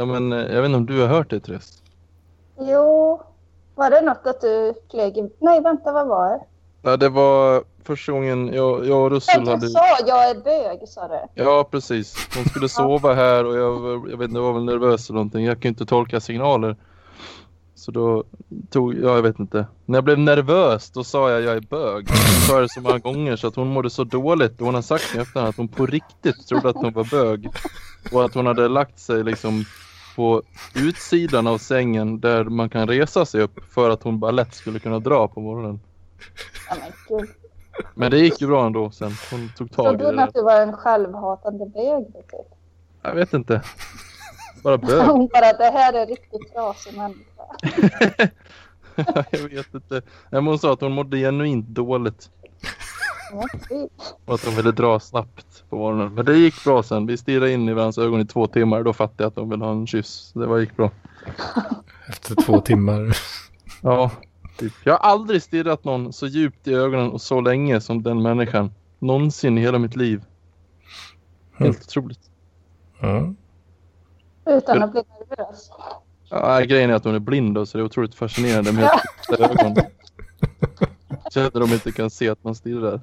Ja, men, eh, jag vet inte om du har hört det Therese?
Jo, var det något att du flög i... Nej, vänta, vad var det?
Ja, det var första gången jag, jag och Russell
Vänta,
hade...
sa jag är bög, sa du?
Ja, precis. Hon skulle sova här och jag, var- jag vet inte, jag var väl nervös eller någonting. Jag kunde inte tolka signaler. Så då tog, ja, jag vet inte. När jag blev nervös då sa jag jag är bög. Jag sa det så många gånger så att hon mådde så dåligt och hon har sagt nu efterhand att hon på riktigt trodde att hon var bög. Och att hon hade lagt sig liksom på utsidan av sängen där man kan resa sig upp för att hon bara lätt skulle kunna dra på morgonen.
Ja, men gud.
Men det gick ju bra ändå sen. Hon tog tag i
Trodde
det
hon
där.
att du var en självhatande bög? då, Typ.
Jag vet inte. Bara bög.
Hon bara, det här är riktigt trasig människa.
jag vet inte. Nej, men hon sa att hon mådde genuint dåligt
Ja, fy.
och att hon ville dra snabbt på morgonen. Men det gick bra sen. Vi stirrade in i varandras ögon i två timmar. Då fattade jag att de ville ha en kyss. Det var, gick bra.
Efter två timmar.
Ja, typ. Jag har aldrig stirrat någon så djupt i ögonen och så länge som den människan. Någonsin i hela mitt liv. Helt otroligt.
Ja.
Utan att bli nervös.
Ja, äh, grejen är att hon är blind då, så det är otroligt fascinerande med öppna ögon. Så att de inte kan se att man stirrar.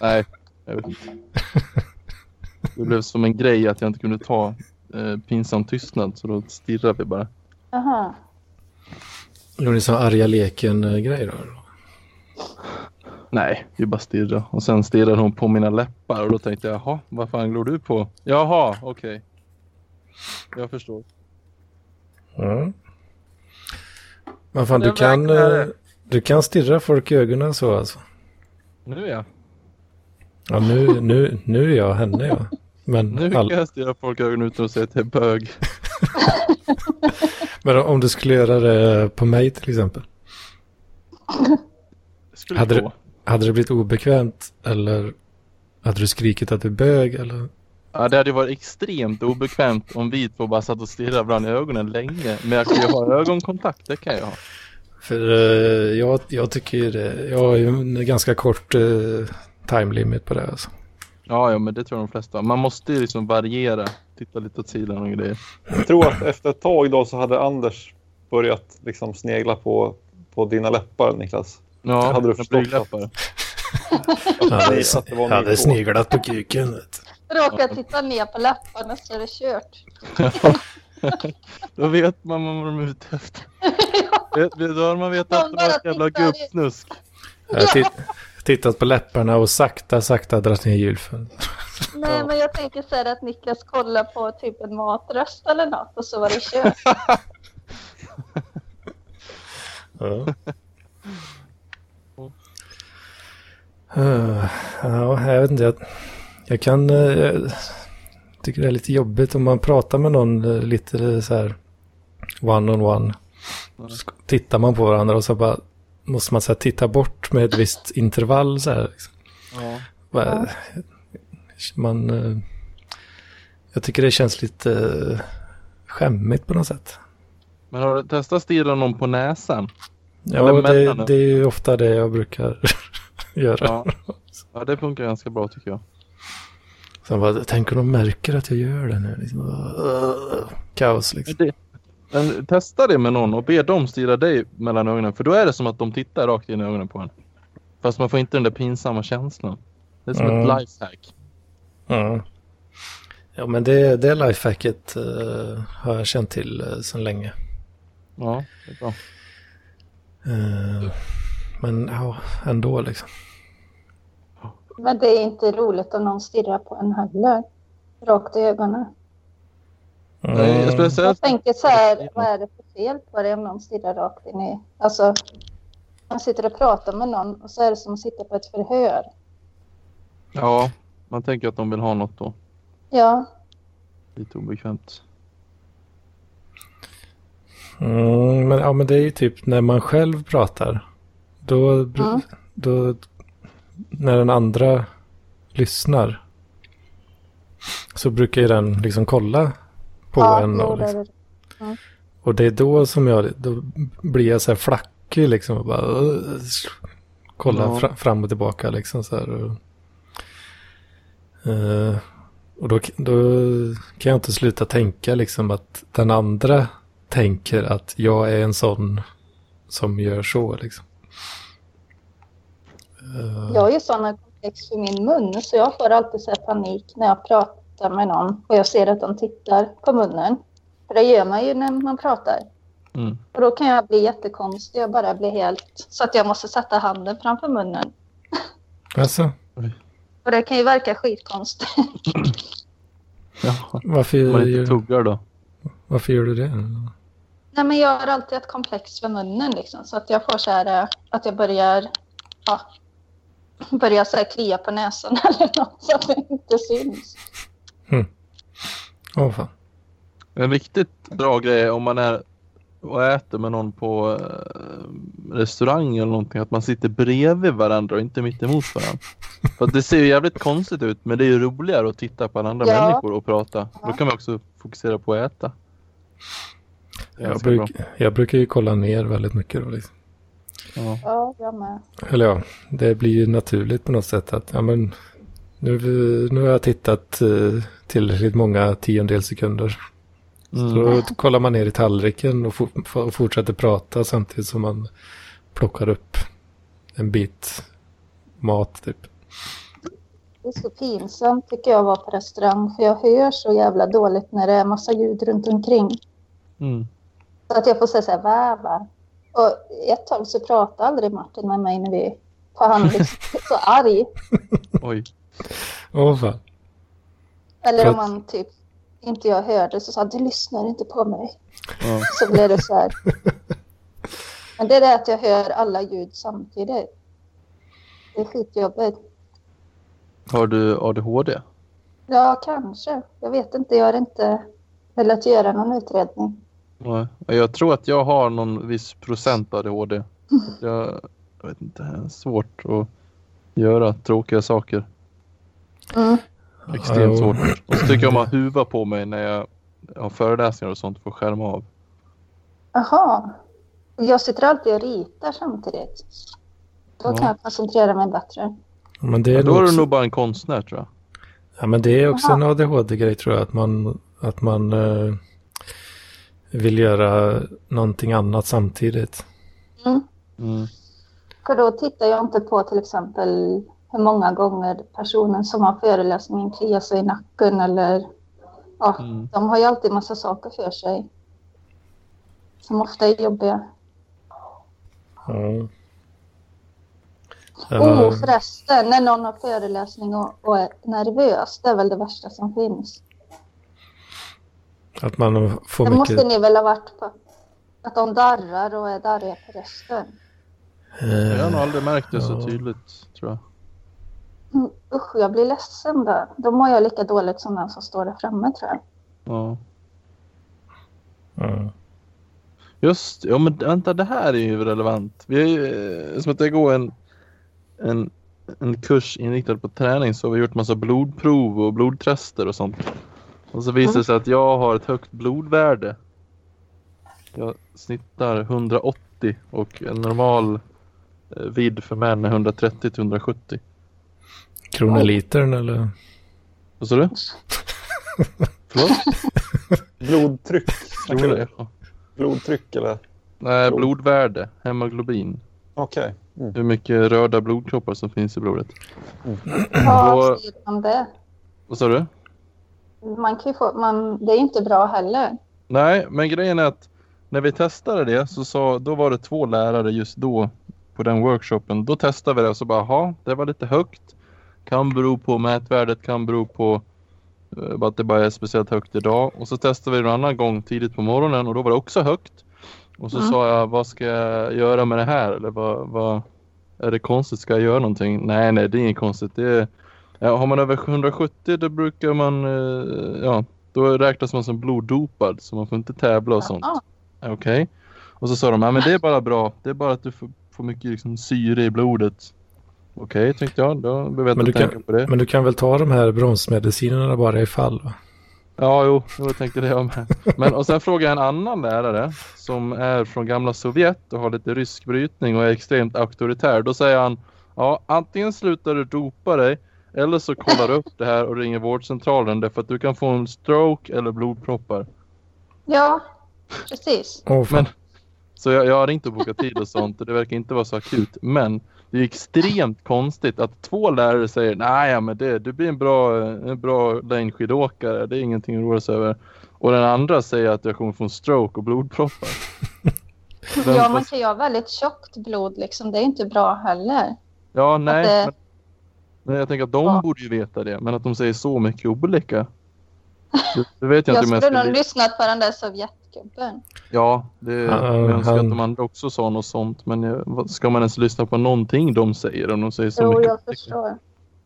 Nej, jag vet inte. Det blev som en grej att jag inte kunde ta eh, pinsam tystnad så då stirrar vi bara.
Jaha.
Gjorde ni sån arga leken-grej då?
Nej, det är bara stirra. Och sen stirrade hon på mina läppar och då tänkte jag, jaha, vad fan glor du på? Jaha, okej. Jag förstår.
Mm. Men fan, du
Jag
kan,
vägrar.
eh, du kan stirra folk i ögonen så alltså.
Nu ja.
Ja, nu, nu, nu är jag henne ja. Men,
Nu
all,
kan jag stirra folk i ögonen utan att säga att jag är bög.
men om du skulle göra det på mig till exempel.
Det skulle
Hade det,
gå.
hade det blivit obekvämt eller hade du skrikit att du är bög eller?
Ja, det hade ju varit extremt obekvämt om vi två bara satt och stirrade varandra i ögonen länge. Men jag kan ju ha ögonkontakt, det kan jag ha.
För eh, jag, jag tycker ju det, jag har ju en ganska kort eh, time limit på det alltså.
Ja, ja, men det tror jag de flesta. Man måste ju liksom variera. Titta lite åt sidan och grejer.
Jag tror att efter ett tag då så hade Anders börjat liksom snegla på, på dina läppar, Niklas.
Ja,
hade du
mina
förstått att,
blygdläppar.
Jag hade,
att det var en
jag hade
IK.
sneglat på kuken. vet du.
Råkar titta ner på läpparna så är det kört.
Då vet man vad de är ute efter. Det- det- Då har man vetat att det var ett jävla gubbsnusk.
Jag har titt, tittat på läpparna och sakta, sakta dragit ner gylfen.
Nej, men jag tänker så här att Niklas kollar på typ en matröst eller något och så var det kört.
Ja. Eh, ja, jag vet inte. Jag, jag kan... eh, jag tycker det är lite jobbigt om man pratar med någon eh, lite så här one-on-one. Så sk- tittar man på varandra och så bara måste man så här, titta bort med ett visst intervall så här. Liksom.
Ja.
Bara, Man... eh, jag tycker det känns lite eh, skämmigt på något sätt.
Men har du testat stirra någon på näsan?
Ja,
Eller mellan
det,
dem.
det är ju ofta det jag brukar göra.
Ja. ja, det funkar ganska bra tycker jag.
Sen bara, tänk om de märker att jag gör det nu. Liksom, Ugh. kaos liksom.
Men, det, men testa det med någon och be dem stirra dig mellan ögonen. För då är det som att de tittar rakt in i ögonen på en. Fast man får inte den där pinsamma känslan. Det är som
Mm.
ett lifehack.
Ja. Ja, men det, det lifehacket eh, har jag känt till uh, sedan länge.
Ja, det är bra.
Eh, men ja, ändå liksom.
Men det är inte roligt om någon stirrar på en heller. Rakt i ögonen.
Nej, jag skulle säga
Jag
att
tänker så här, vad är det för fel på det om någon stirrar rakt in i... Alltså, man sitter och pratar med någon och så är det som att sitta på ett förhör.
ja, man tänker att de vill ha något då.
Ja,
Lite obekvämt.
Mm, men, ja, men det är ju typ när man själv pratar. Då, bru-
Mm.
då när den andra lyssnar så brukar ju den liksom kolla på
ja
en.
jo,
Och,
det är
liksom.
det.
och det är då som jag, då blir jag så här flackig liksom och bara "Åh", kolla
Ja.
fra, fram och tillbaka liksom så här. Och, Eh, och då, då kan jag inte sluta tänka liksom att den andra tänker att jag är en sån som gör så liksom. Eh,
Jag har ju sådana komplex för min mun så jag får alltid så här panik när jag pratar med någon och jag ser att de tittar på munnen. För det gör man ju när man pratar.
Mm.
Och då kan jag bli jättekonstig. Jag bara blir helt... Så att jag måste sätta handen framför munnen.
Alltså,
Och det kan ju verka skitkonstigt.
Ja.
varför,
Man inte
gör,
tuggar då.
varför gör du det?
Nej, men jag har alltid ett komplex för munnen liksom. Så att jag får så här eh, att jag börjar... Ja, börjar så här klia på näsan eller något så att det inte syns.
Åh fan.
En riktigt bra grej om man är och äter med någon på eh, restaurang eller någonting, att man sitter bredvid varandra och inte mitt emot varandra. För att det ser ju jävligt konstigt ut, men det är ju roligare att titta på andra
Ja.
människor och prata. Då kan man också fokusera på att äta. Det är
Jag,
ganska
bruk, jag brukar ju kolla ner väldigt mycket då liksom.
Ja.
Ja, jag med.
Eller ja, det blir ju naturligt på något sätt att ja, men, nu, nu har jag tittat eh, tillräckligt många tiondelsekunder.
Mm.
Så då kollar man ner i tallriken och, for, och fortsätter prata samtidigt som man plockar upp en bit mat typ.
Det är så pinsamt tycker jag att vara på restaurang för jag hör så jävla dåligt när det är massa ljud runt omkring.
Mm.
Så att jag får säga så här va va. Och ett tag så pratade aldrig Martin med mig när vi... För han blev så arg.
Oj.
Åh fan.
Eller
För
om
att-
man typ inte jag hörde så sa han, du lyssnar inte på mig.
Ja.
Så blev det så här. Men det är det att jag hör alla ljud samtidigt. Det är skitjobbigt.
Har du ADHD?
Ja, kanske. Jag vet inte. Jag har inte velat göra någon utredning.
Nej. Jag tror att jag har någon viss procent ADHD. Jag, jag vet inte, det är svårt att göra tråkiga saker.
Mm.
Ja, jo.
Extremt svårt. Och så tycker jag om att ha huva på mig när jag har föreläsningar och sånt för att skärma av.
Jaha. Jag sitter alltid och ritar samtidigt. Då kan
Ja.
jag koncentrera mig bättre.
Men det är
Ja, då
nog
är
också,
du nog bara en konstnär tror jag.
ja, men det är också
Jaha.
en ADHD-grej tror jag. Att man, att man eh, vill göra någonting annat samtidigt.
Mm.
För då tittar jag inte på till exempel hur många gånger personen som har föreläsningen kliar sig i nacken eller... Ja,
Mm.
de har ju alltid massa saker för sig. Som ofta är jobbiga.
Ja. Det var-
Oh, förresten, när någon har föreläsning och, och är nervös, det är väl det värsta som finns.
att man får
Det måste
mycket...
ni väl ha varit på? Att de darrar och är darriga på rösten.
Jag har nog
Eh,
aldrig märkt det så
Ja.
tydligt tror jag.
Mm, Usch, jag blir ledsen där. Då mår jag lika dåligt som den som står där framme tror jag.
Ja.
mm.
Just ja men vänta det här är ju relevant. Vi är ju, eh, som att jag går en, en, en kurs inriktad på träning så har vi gjort massa blodprov och blodtester och sånt. Och så visar det sig att jag har ett högt blodvärde. Jag snittar 180 och en normal eh, vidd för män är 130 till 170.
Kronolitern eller?
Vad sa du? Förlåt?
Blodtryck.
Tror det. Ja.
Blodtryck eller?
Nej,
Blod.
blodvärde. Hemoglobin.
Okej. Mm.
Hur mycket röda blodkroppar som finns i blodet.
Ja,
Då-
skriver om det.
Vad sa du?
Man kan ju få, man, det är inte bra heller.
Nej, men grejen är att när vi testade det så sa, då var det två lärare just då på den workshopen. Då testade vi det och så bara, jaha, det var lite högt. Kan bero på mätvärdet, kan bero på eh, bara att det bara är speciellt högt idag. Och så testade vi det en annan gång tidigt på morgonen och då var det också högt. Och så
Mm.
sa jag, vad ska jag göra med det här? Eller vad, vad är det konstigt? Ska jag göra någonting? Nej, nej, det är inget konstigt. Det är, ja, har man över 170 då brukar man, eh, ja, då räknas man som bloddopad så man får inte tävla och sånt.
Jaha.
Okej. Och så sa de, ja men det är bara bra. Det är bara att du får, får mycket liksom, syre i blodet. Okej, tyckte jag. Då behöver jag
Men
inte
du kan-
tänka på det.
Men du kan väl ta de här bromsmedicinerna bara ifall? Va?
Ja, jo, jo, jag tänkte det jag med. Men, och sen frågade jag en annan lärare som är från gamla Sovjet och har lite rysk brytning och är extremt auktoritär. Då säger han, ja antingen slutar du dopa dig eller så kollar du upp det här och ringer vårdcentralen därför att du kan få en stroke eller blodproppar.
Ja, precis.
Åh, fan.
Så jag, jag har inte bokat tid och sånt och det verkar inte vara så akut. Men det är extremt konstigt att två lärare säger nej ja, men det, du blir en bra, en bra längdskidåkare, det är ingenting att oroa sig över. Och den andra säger att jag kommer få en stroke och blodproppar. Vem-
Ja, man kan ju ha väldigt tjockt blod liksom. Det är inte bra heller.
ja nej,
att det-
men, nej, jag tänker att de
Ja.
borde ju veta det, men att de säger så mycket olika. Det, det vet jag,
Jag
inte om jag
skulle nog
skulle...
lyssnat på den där Sovjetgubben.
Ja, det, jag önskar
han-
att de andra också sa något sånt, men jag, vad- ska man ens lyssna på någonting de säger om de säger så
Jo,
mycket
jag
olika?
förstår.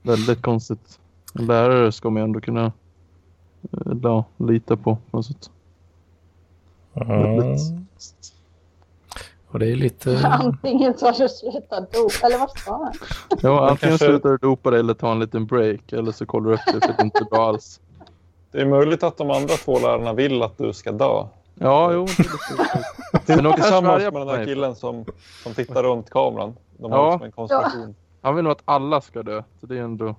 Väldigt konstigt. En lärare ska man ju ändå kunna eh, ja, lita på. på något sätt.
Ja. Och det är lite...
Antingen så har du slutat do, eller vad fan.
Ja, antingen
kanske-
slutar du dopa dig eller ta en liten break eller så kollar du upp det för det är inte bra alls.
Det är möjligt att de andra två lärarna vill att du ska dö.
Ja, jo. det är lite-
Det är
Men de
nog
kanske är
tillsammans
arga
med
på
den där
mig.
killen som, som tittar runt kameran. De
Ja.
har liksom en konspiration.
Han vill nog att alla ska dö. Så det är ändå...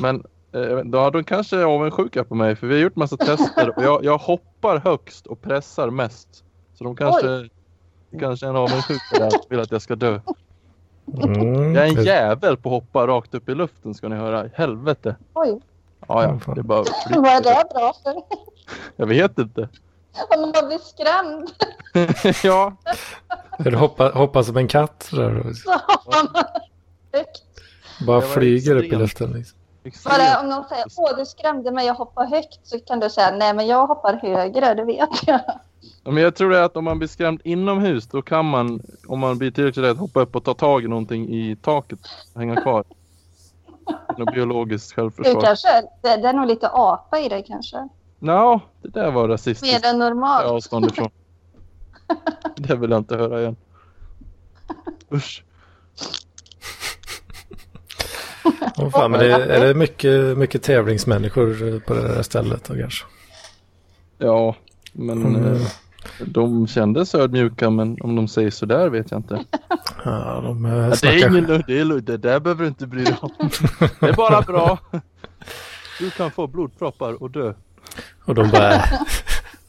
Men eh, jag vet- då hade de kanske är avundsjuka på mig för vi har gjort massa tester och jag, jag hoppar högst och pressar mest. Så de kanske, kanske är en avundsjuka där och vill att jag ska dö.
Mm.
Jag är en jävel på att hoppa rakt upp i luften ska ni höra. Helvete.
Oj,
Ja,
Ja, ja.
fan.
Det är bara att
vad är
flytta.
det bra för?
Jag vet inte.
Om man blir skrämd
ja.
Eller hoppa, hoppa som en katt sådär. och
så har man högt.
Bara
Det var
flyger upp i
extremt.
luften liksom.
Bara om någon säger åh du skrämde mig, jag hoppar högt. Så kan du säga nej men jag hoppar högre, det vet jag.
Ja, Men jag tror det är att om man blir skrämd inomhus då kan man, om man blir tillräckligt rädd, hoppa upp och ta tag i någonting i taket och hänga kvar. Något biologiskt
Du
självförsvar.
kanske, det, det är nog lite apa i dig kanske.
Nå, det där var rasistiskt.
Mer än
Det är
normalt.
avstånd ifrån. Det vill jag inte höra igen. Usch.
Åh, fan, men det är, är det mycket, mycket tävlingsmänniskor på det där stället då kanske?
Ja, men
Mm.
eh, de kändes ödmjuka men om de säger sådär vet jag inte.
Ja, de eh,
Ja, det är
snackar...
ingen lugn, det är lugnt. Det där behöver du inte bry dig om. Det är bara bra. Du kan få blodproppar och dö.
Och de bara...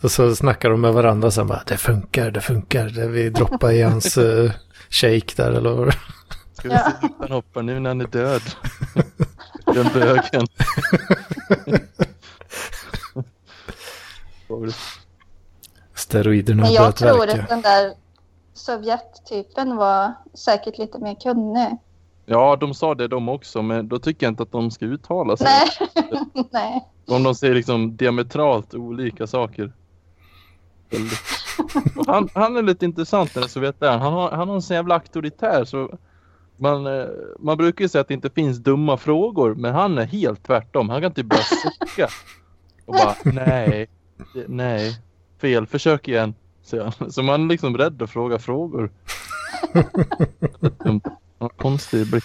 Och så snackar de med varandra sen bara, det funkar, det funkar, det vi droppar i hans eh, shake där eller vad det-
Ska vi se hur han hoppar nu när han är död? Den bögen.
Steroiderna
Men
har
jag
Mm. börjat
tror
verka.
att den där Sovjettypen var säkert lite mer kunnig.
Ja, de sa det de också, men då tycker jag inte att de ska uttala sig.
Nej. Nej.
Om de säger liksom diametralt olika saker. Och han, han är lite intressant den här sovjetlären. Han har, han har en sån jävla auktoritär så man, eh, man brukar ju säga att det inte finns dumma frågor men han är helt tvärtom. Han kan typ bara sucka och bara nej, det- nej, fel, försök igen. säger han. Så man är liksom rädd att fråga frågor. Lite dumt. Han har konstig blick.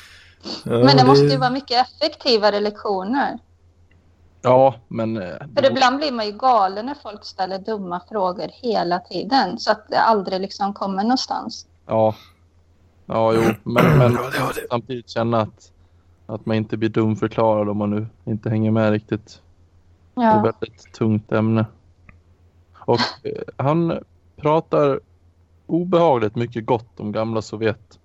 Ja,
Men det måste ju vara mycket effektivare lektioner.
Ja, men... eh,
För ibland blir man ju galen när folk ställer dumma frågor hela tiden. Så att det aldrig liksom kommer någonstans.
Ja. Ja, jo. Men, men
Ja, det har det.
samtidigt känna att, att man inte blir dumförklarad om man nu inte hänger med riktigt. Det är
Ja.
väldigt tungt ämne. Och eh, han pratar obehagligt mycket gott om gamla Sovjet.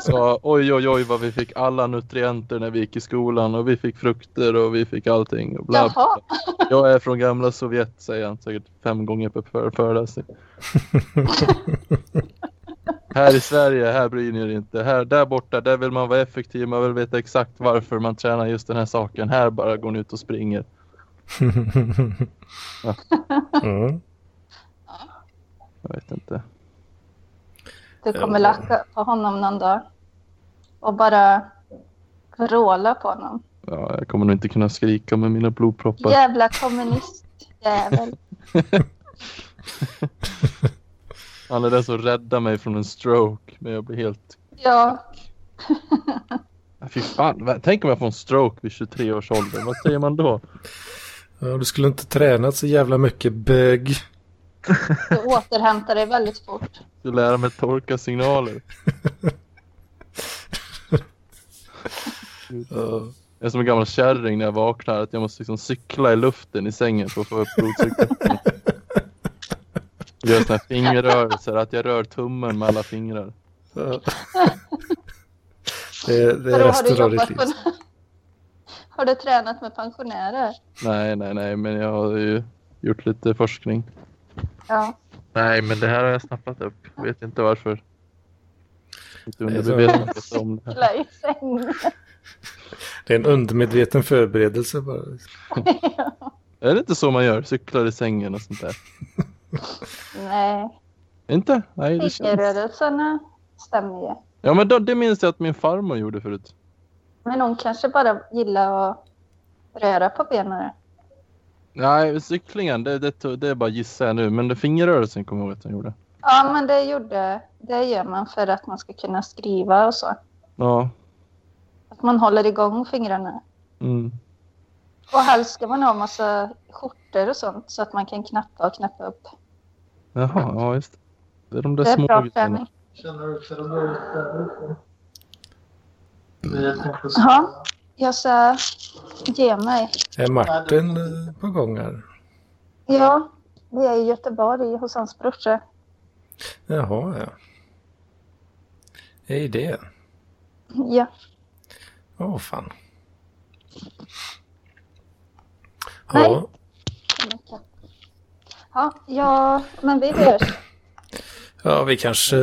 Så oj, oj, oj vad vi fick alla nutrienter när vi gick i skolan och vi fick frukter och vi fick allting. Och bla,
Jaha.
bla. Jag är från gamla Sovjet säger han säkert fem gånger per för- föreläsning. här i Sverige, här bryr ni er inte. Här, där borta, där vill man vara effektiv. Man vill veta exakt varför man tränar just den här saken. Här bara går ni ut och springer.
mm.
Jag vet inte.
Du kommer lacka på honom någon dag. Och bara vråla på honom.
Ja, jag kommer nog inte kunna skrika med mina blodproppar.
Jävla kommunistjävel.
Alla där som räddar mig från en stroke. Men jag blir helt...
Ja.
Ah, Fy fan. va- Tänk om jag får en stroke vid 23 års ålder. Vad säger man då?
ja, du skulle inte tränat så jävla mycket bög.
Du återhämtar dig väldigt fort.
Du lär mig torka signaler.
Ja.
Jag är som en gammal kärring när jag vaknar. Att jag måste liksom cykla i luften i sängen för att få upp blodtrycket. Jag gör såna här fingerrörelser. Att jag rör tummen med alla fingrar.
Ja. Det, är- det är
Vadå, har du
resten av ditt
jobbat
liv.
på- Har du tränat med pensionärer?
Nej, nej, nej. Men jag har ju gjort lite forskning.
Ja.
Nej, men det här har jag snappat upp. Jag vet inte varför. Lite
Nej, så-
undermedvetet om det här.
Killa i sängen.
Det är en undermedveten förberedelse bara.
Är det inte så man gör? Cyklar i sängen och sånt där?
Nej.
Inte? Nej, det känns...
Rörelserna stämmer ju.
Ja, men då, det minns jag att min farmor gjorde förut.
Men hon kanske bara gillar att röra på benen.
Nej, cyklingen, det, det, det är bara gissa nu. Men det fingerrörelsen kommer jag ihåg att hon gjorde.
Ja, men det, gjorde, det gör man för att man ska kunna skriva och så.
Ja.
Att man håller igång fingrarna.
Mm.
Och helst ska man ha massa skjortor och sånt så att man kan knappa och knappa upp.
Jaha, ja just det. Det är de där
Det är
små
bra
bitarna.
träning.
Känner du pedagogisk självhjälp? Vi är kompis.
Ja, jag sa ge mig.
Är Martin eh, på gång här?
Ja, vi är i Göteborg hos hans brorsa.
Jaha, ja. Är det?
Ja.
Åh, fan.
Nej.
Ja,
Ja, ja men vi hörs.
Ja, vi kanske,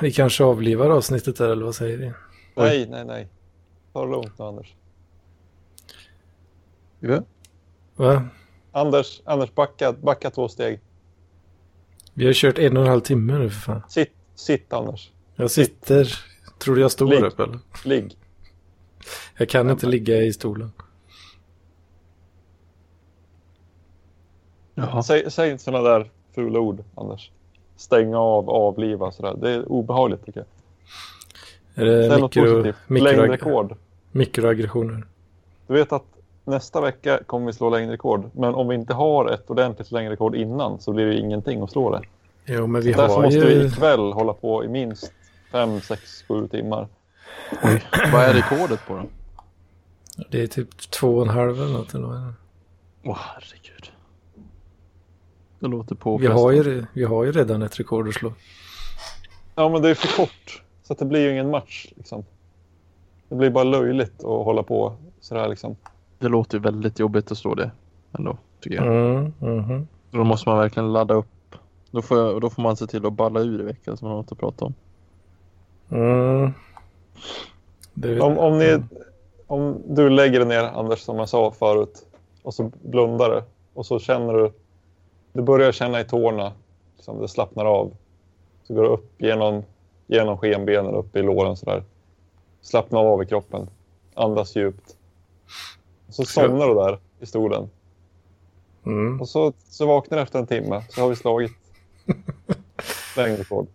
vi kanske avlivar avsnittet där, eller vad säger ni?
Nej, nej, nej. Ta det lugnt nu, Anders.
Ja.
Va?
Anders, Anders backa, backa två steg.
Vi har kört en och en halv timme nu för fan.
Sitt, sitt Anders.
Jag sitter. Tror du jag står
Ligg.
upp eller?
Ligg.
Jag kan inte ligga i stolen.
Jaha.
Säg, säg inte sådana där fula ord, Anders. Stänga av, avliva sådär. Det är obehagligt tycker jag.
Är det
Säg något
mikro,
positivt.
mikro,
Längdrekord.
mikroaggressioner?
Du vet att nästa vecka kommer vi slå längdrekord. Men om vi inte har ett ordentligt längdrekord innan så blir det ju ingenting att slå det.
Jo, men vi
Därför
har
måste vi
ju...
ikväll hålla på i minst fem, sex, sju timmar.
Vad är rekordet på då?
Det är typ två och en halv eller något. eller vad?
Åh herregud. Det låter
Vi
påfrestande.
har, ju, vi har ju redan ett rekord att slå.
Ja, men det är för kort. Så att det blir ju ingen match. Liksom. Det blir bara löjligt att hålla på sådär. Liksom.
Det låter ju väldigt jobbigt att slå det ändå, tycker jag.
Mm, mhm.
Då måste man verkligen ladda upp. Då får, jag, då får man se till att balla ur i veckan som man har något att prata om.
mm. Det,
Om, om, ni, om du lägger dig ner, Anders, som jag sa förut, och så blundar du och så känner du... Du börjar känna i tårna, liksom, det slappnar av. Så går du upp genom, genom skenbenen, upp i låren sådär. Slappna av i kroppen, andas djupt. Och så somnar du där i stolen.
mm.
Och så, så vaknar du efter en timme, så har vi slagit längdrekord.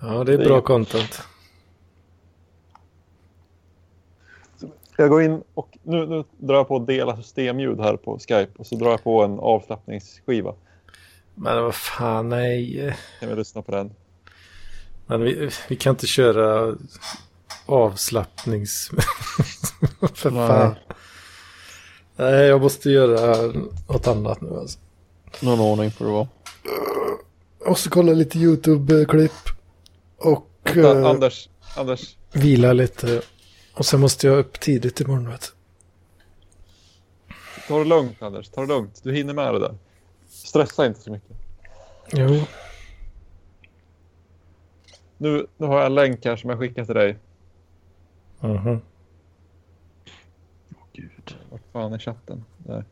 Ja, det är bra content.
Jag går in och nu, nu drar jag på att dela systemljud här på Skype och så drar jag på en avslappningsskiva.
Men vad fan, nej.
Kan vi lyssna på
Eh.
den?
Men vi, vi kan inte köra avslappnings... För fan. Nej, jag måste göra något annat nu alltså.
Någon ordning får det vara.
Jag måste kolla lite YouTube-klipp. Och
Ja,
eh,
Anders, Anders,
vila lite. Och sen måste jag upp tidigt imorgon vet du.
ta det lugnt Anders, ta det lugnt. Du hinner med det där. Stressa inte så mycket.
Jo.
Nu, nu har jag en länk här som jag skickar till dig.
Mhm.
Åh gud,
Vart fan är chatten? Där.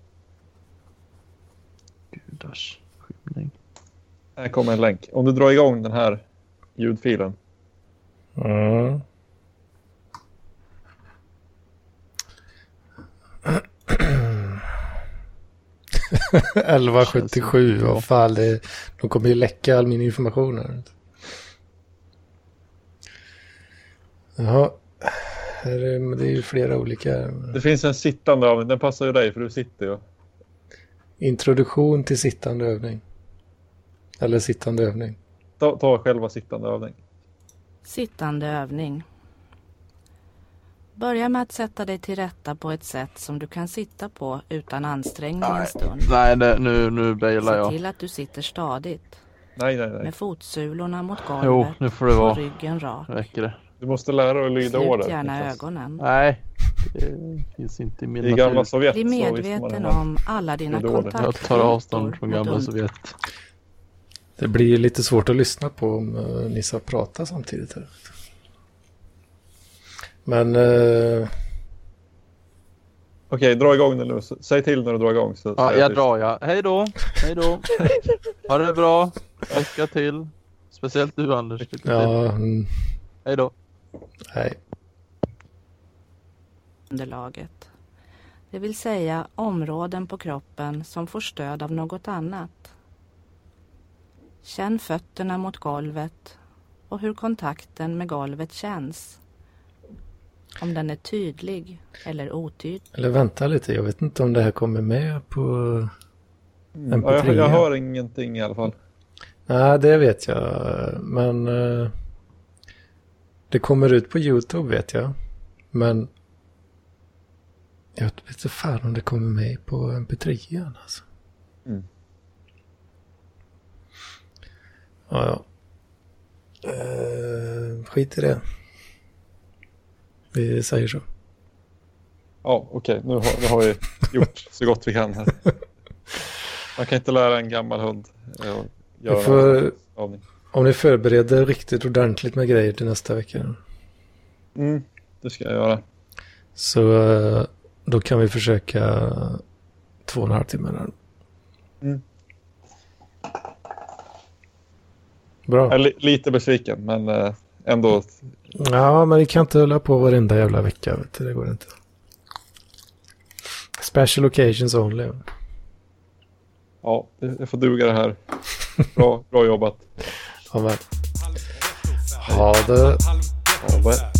gudars skymning.
Här kommer en länk. Om du drar igång den här ljudfilen.
Mm. Elva sjuttiosju, vad fan det är, De kommer ju läcka all min information här. Jaha. Här är, men det är ju flera olika.
Det finns en sittande av den passar ju dig för du sitter ju.
Introduktion till sittande övning. Eller sittande övning.
Ta, ta själva sittande övning.
Sittande övning. Börja med att sätta dig till rätta på ett sätt som du kan sitta på utan ansträngning en stund.
Nej, det, nu, nu bailar
Se
jag.
till att du sitter stadigt
Nej, nej, nej.
med fotsulorna mot
Jo,
golvet
nu får det
och
vara.
ryggen rak.
Nu räcker det.
Du måste lära dig att lyda
Slut
order.
gärna
Niklas.
ögonen.
Nej, det finns inte i min
I gamla
natur.
Sovjet
Bli
så visste man
medveten
det här.
om alla dina
Lyda order.
Jag
kontakter.
tar avstånd från gamla Sovjet.
Det blir ju lite svårt att lyssna på om eh, ni ska prata samtidigt här. Men... eh,
Okej, dra igång den nu. S- Säg till när du drar igång. Så
Ja,
säger
jag
vi-
drar ja. Hej då, hej då. Ha det bra. Lycka till. Speciellt du Anders. Lycka till.
ja, mm,
Hej då.
nej.
underlaget. Det vill säga områden på kroppen som får stöd av något annat. Känn fötterna mot golvet och hur kontakten med golvet känns. Om den är tydlig eller otydlig.
Eller vänta lite, jag vet inte om det här kommer med på...
Ja, jag,
MP3.
jag hör ingenting i alla fall.
Nej, det vet jag. Men... eh, Det kommer ut på YouTube vet jag. Men... Jag vet inte fan om det kommer med på MP3 igen alltså.
Mm.
Ja, ja. Eh, skit i det. Vi säger så.
Ja, okej. Nu, har- nu har vi gjort så gott vi kan här. Man kan inte lära en gammal hund eh, att
Vi
göra
får,
övning.
om ni förbereder riktigt ordentligt med grejer till nästa vecka.
Mm, det ska jag göra.
Så eh, då kan vi försöka två och en halv timme där.
Mm.
Bra.
Jag är li lite besviken, men eh, ändå.
Ja, men vi kan inte hålla på varenda jävla vecka. Vet du. Det går inte. Special occasions only.
Ja, det, det får duga det här. Bra, bra jobbat.
Ja, men. Ha det.
Ja, vad-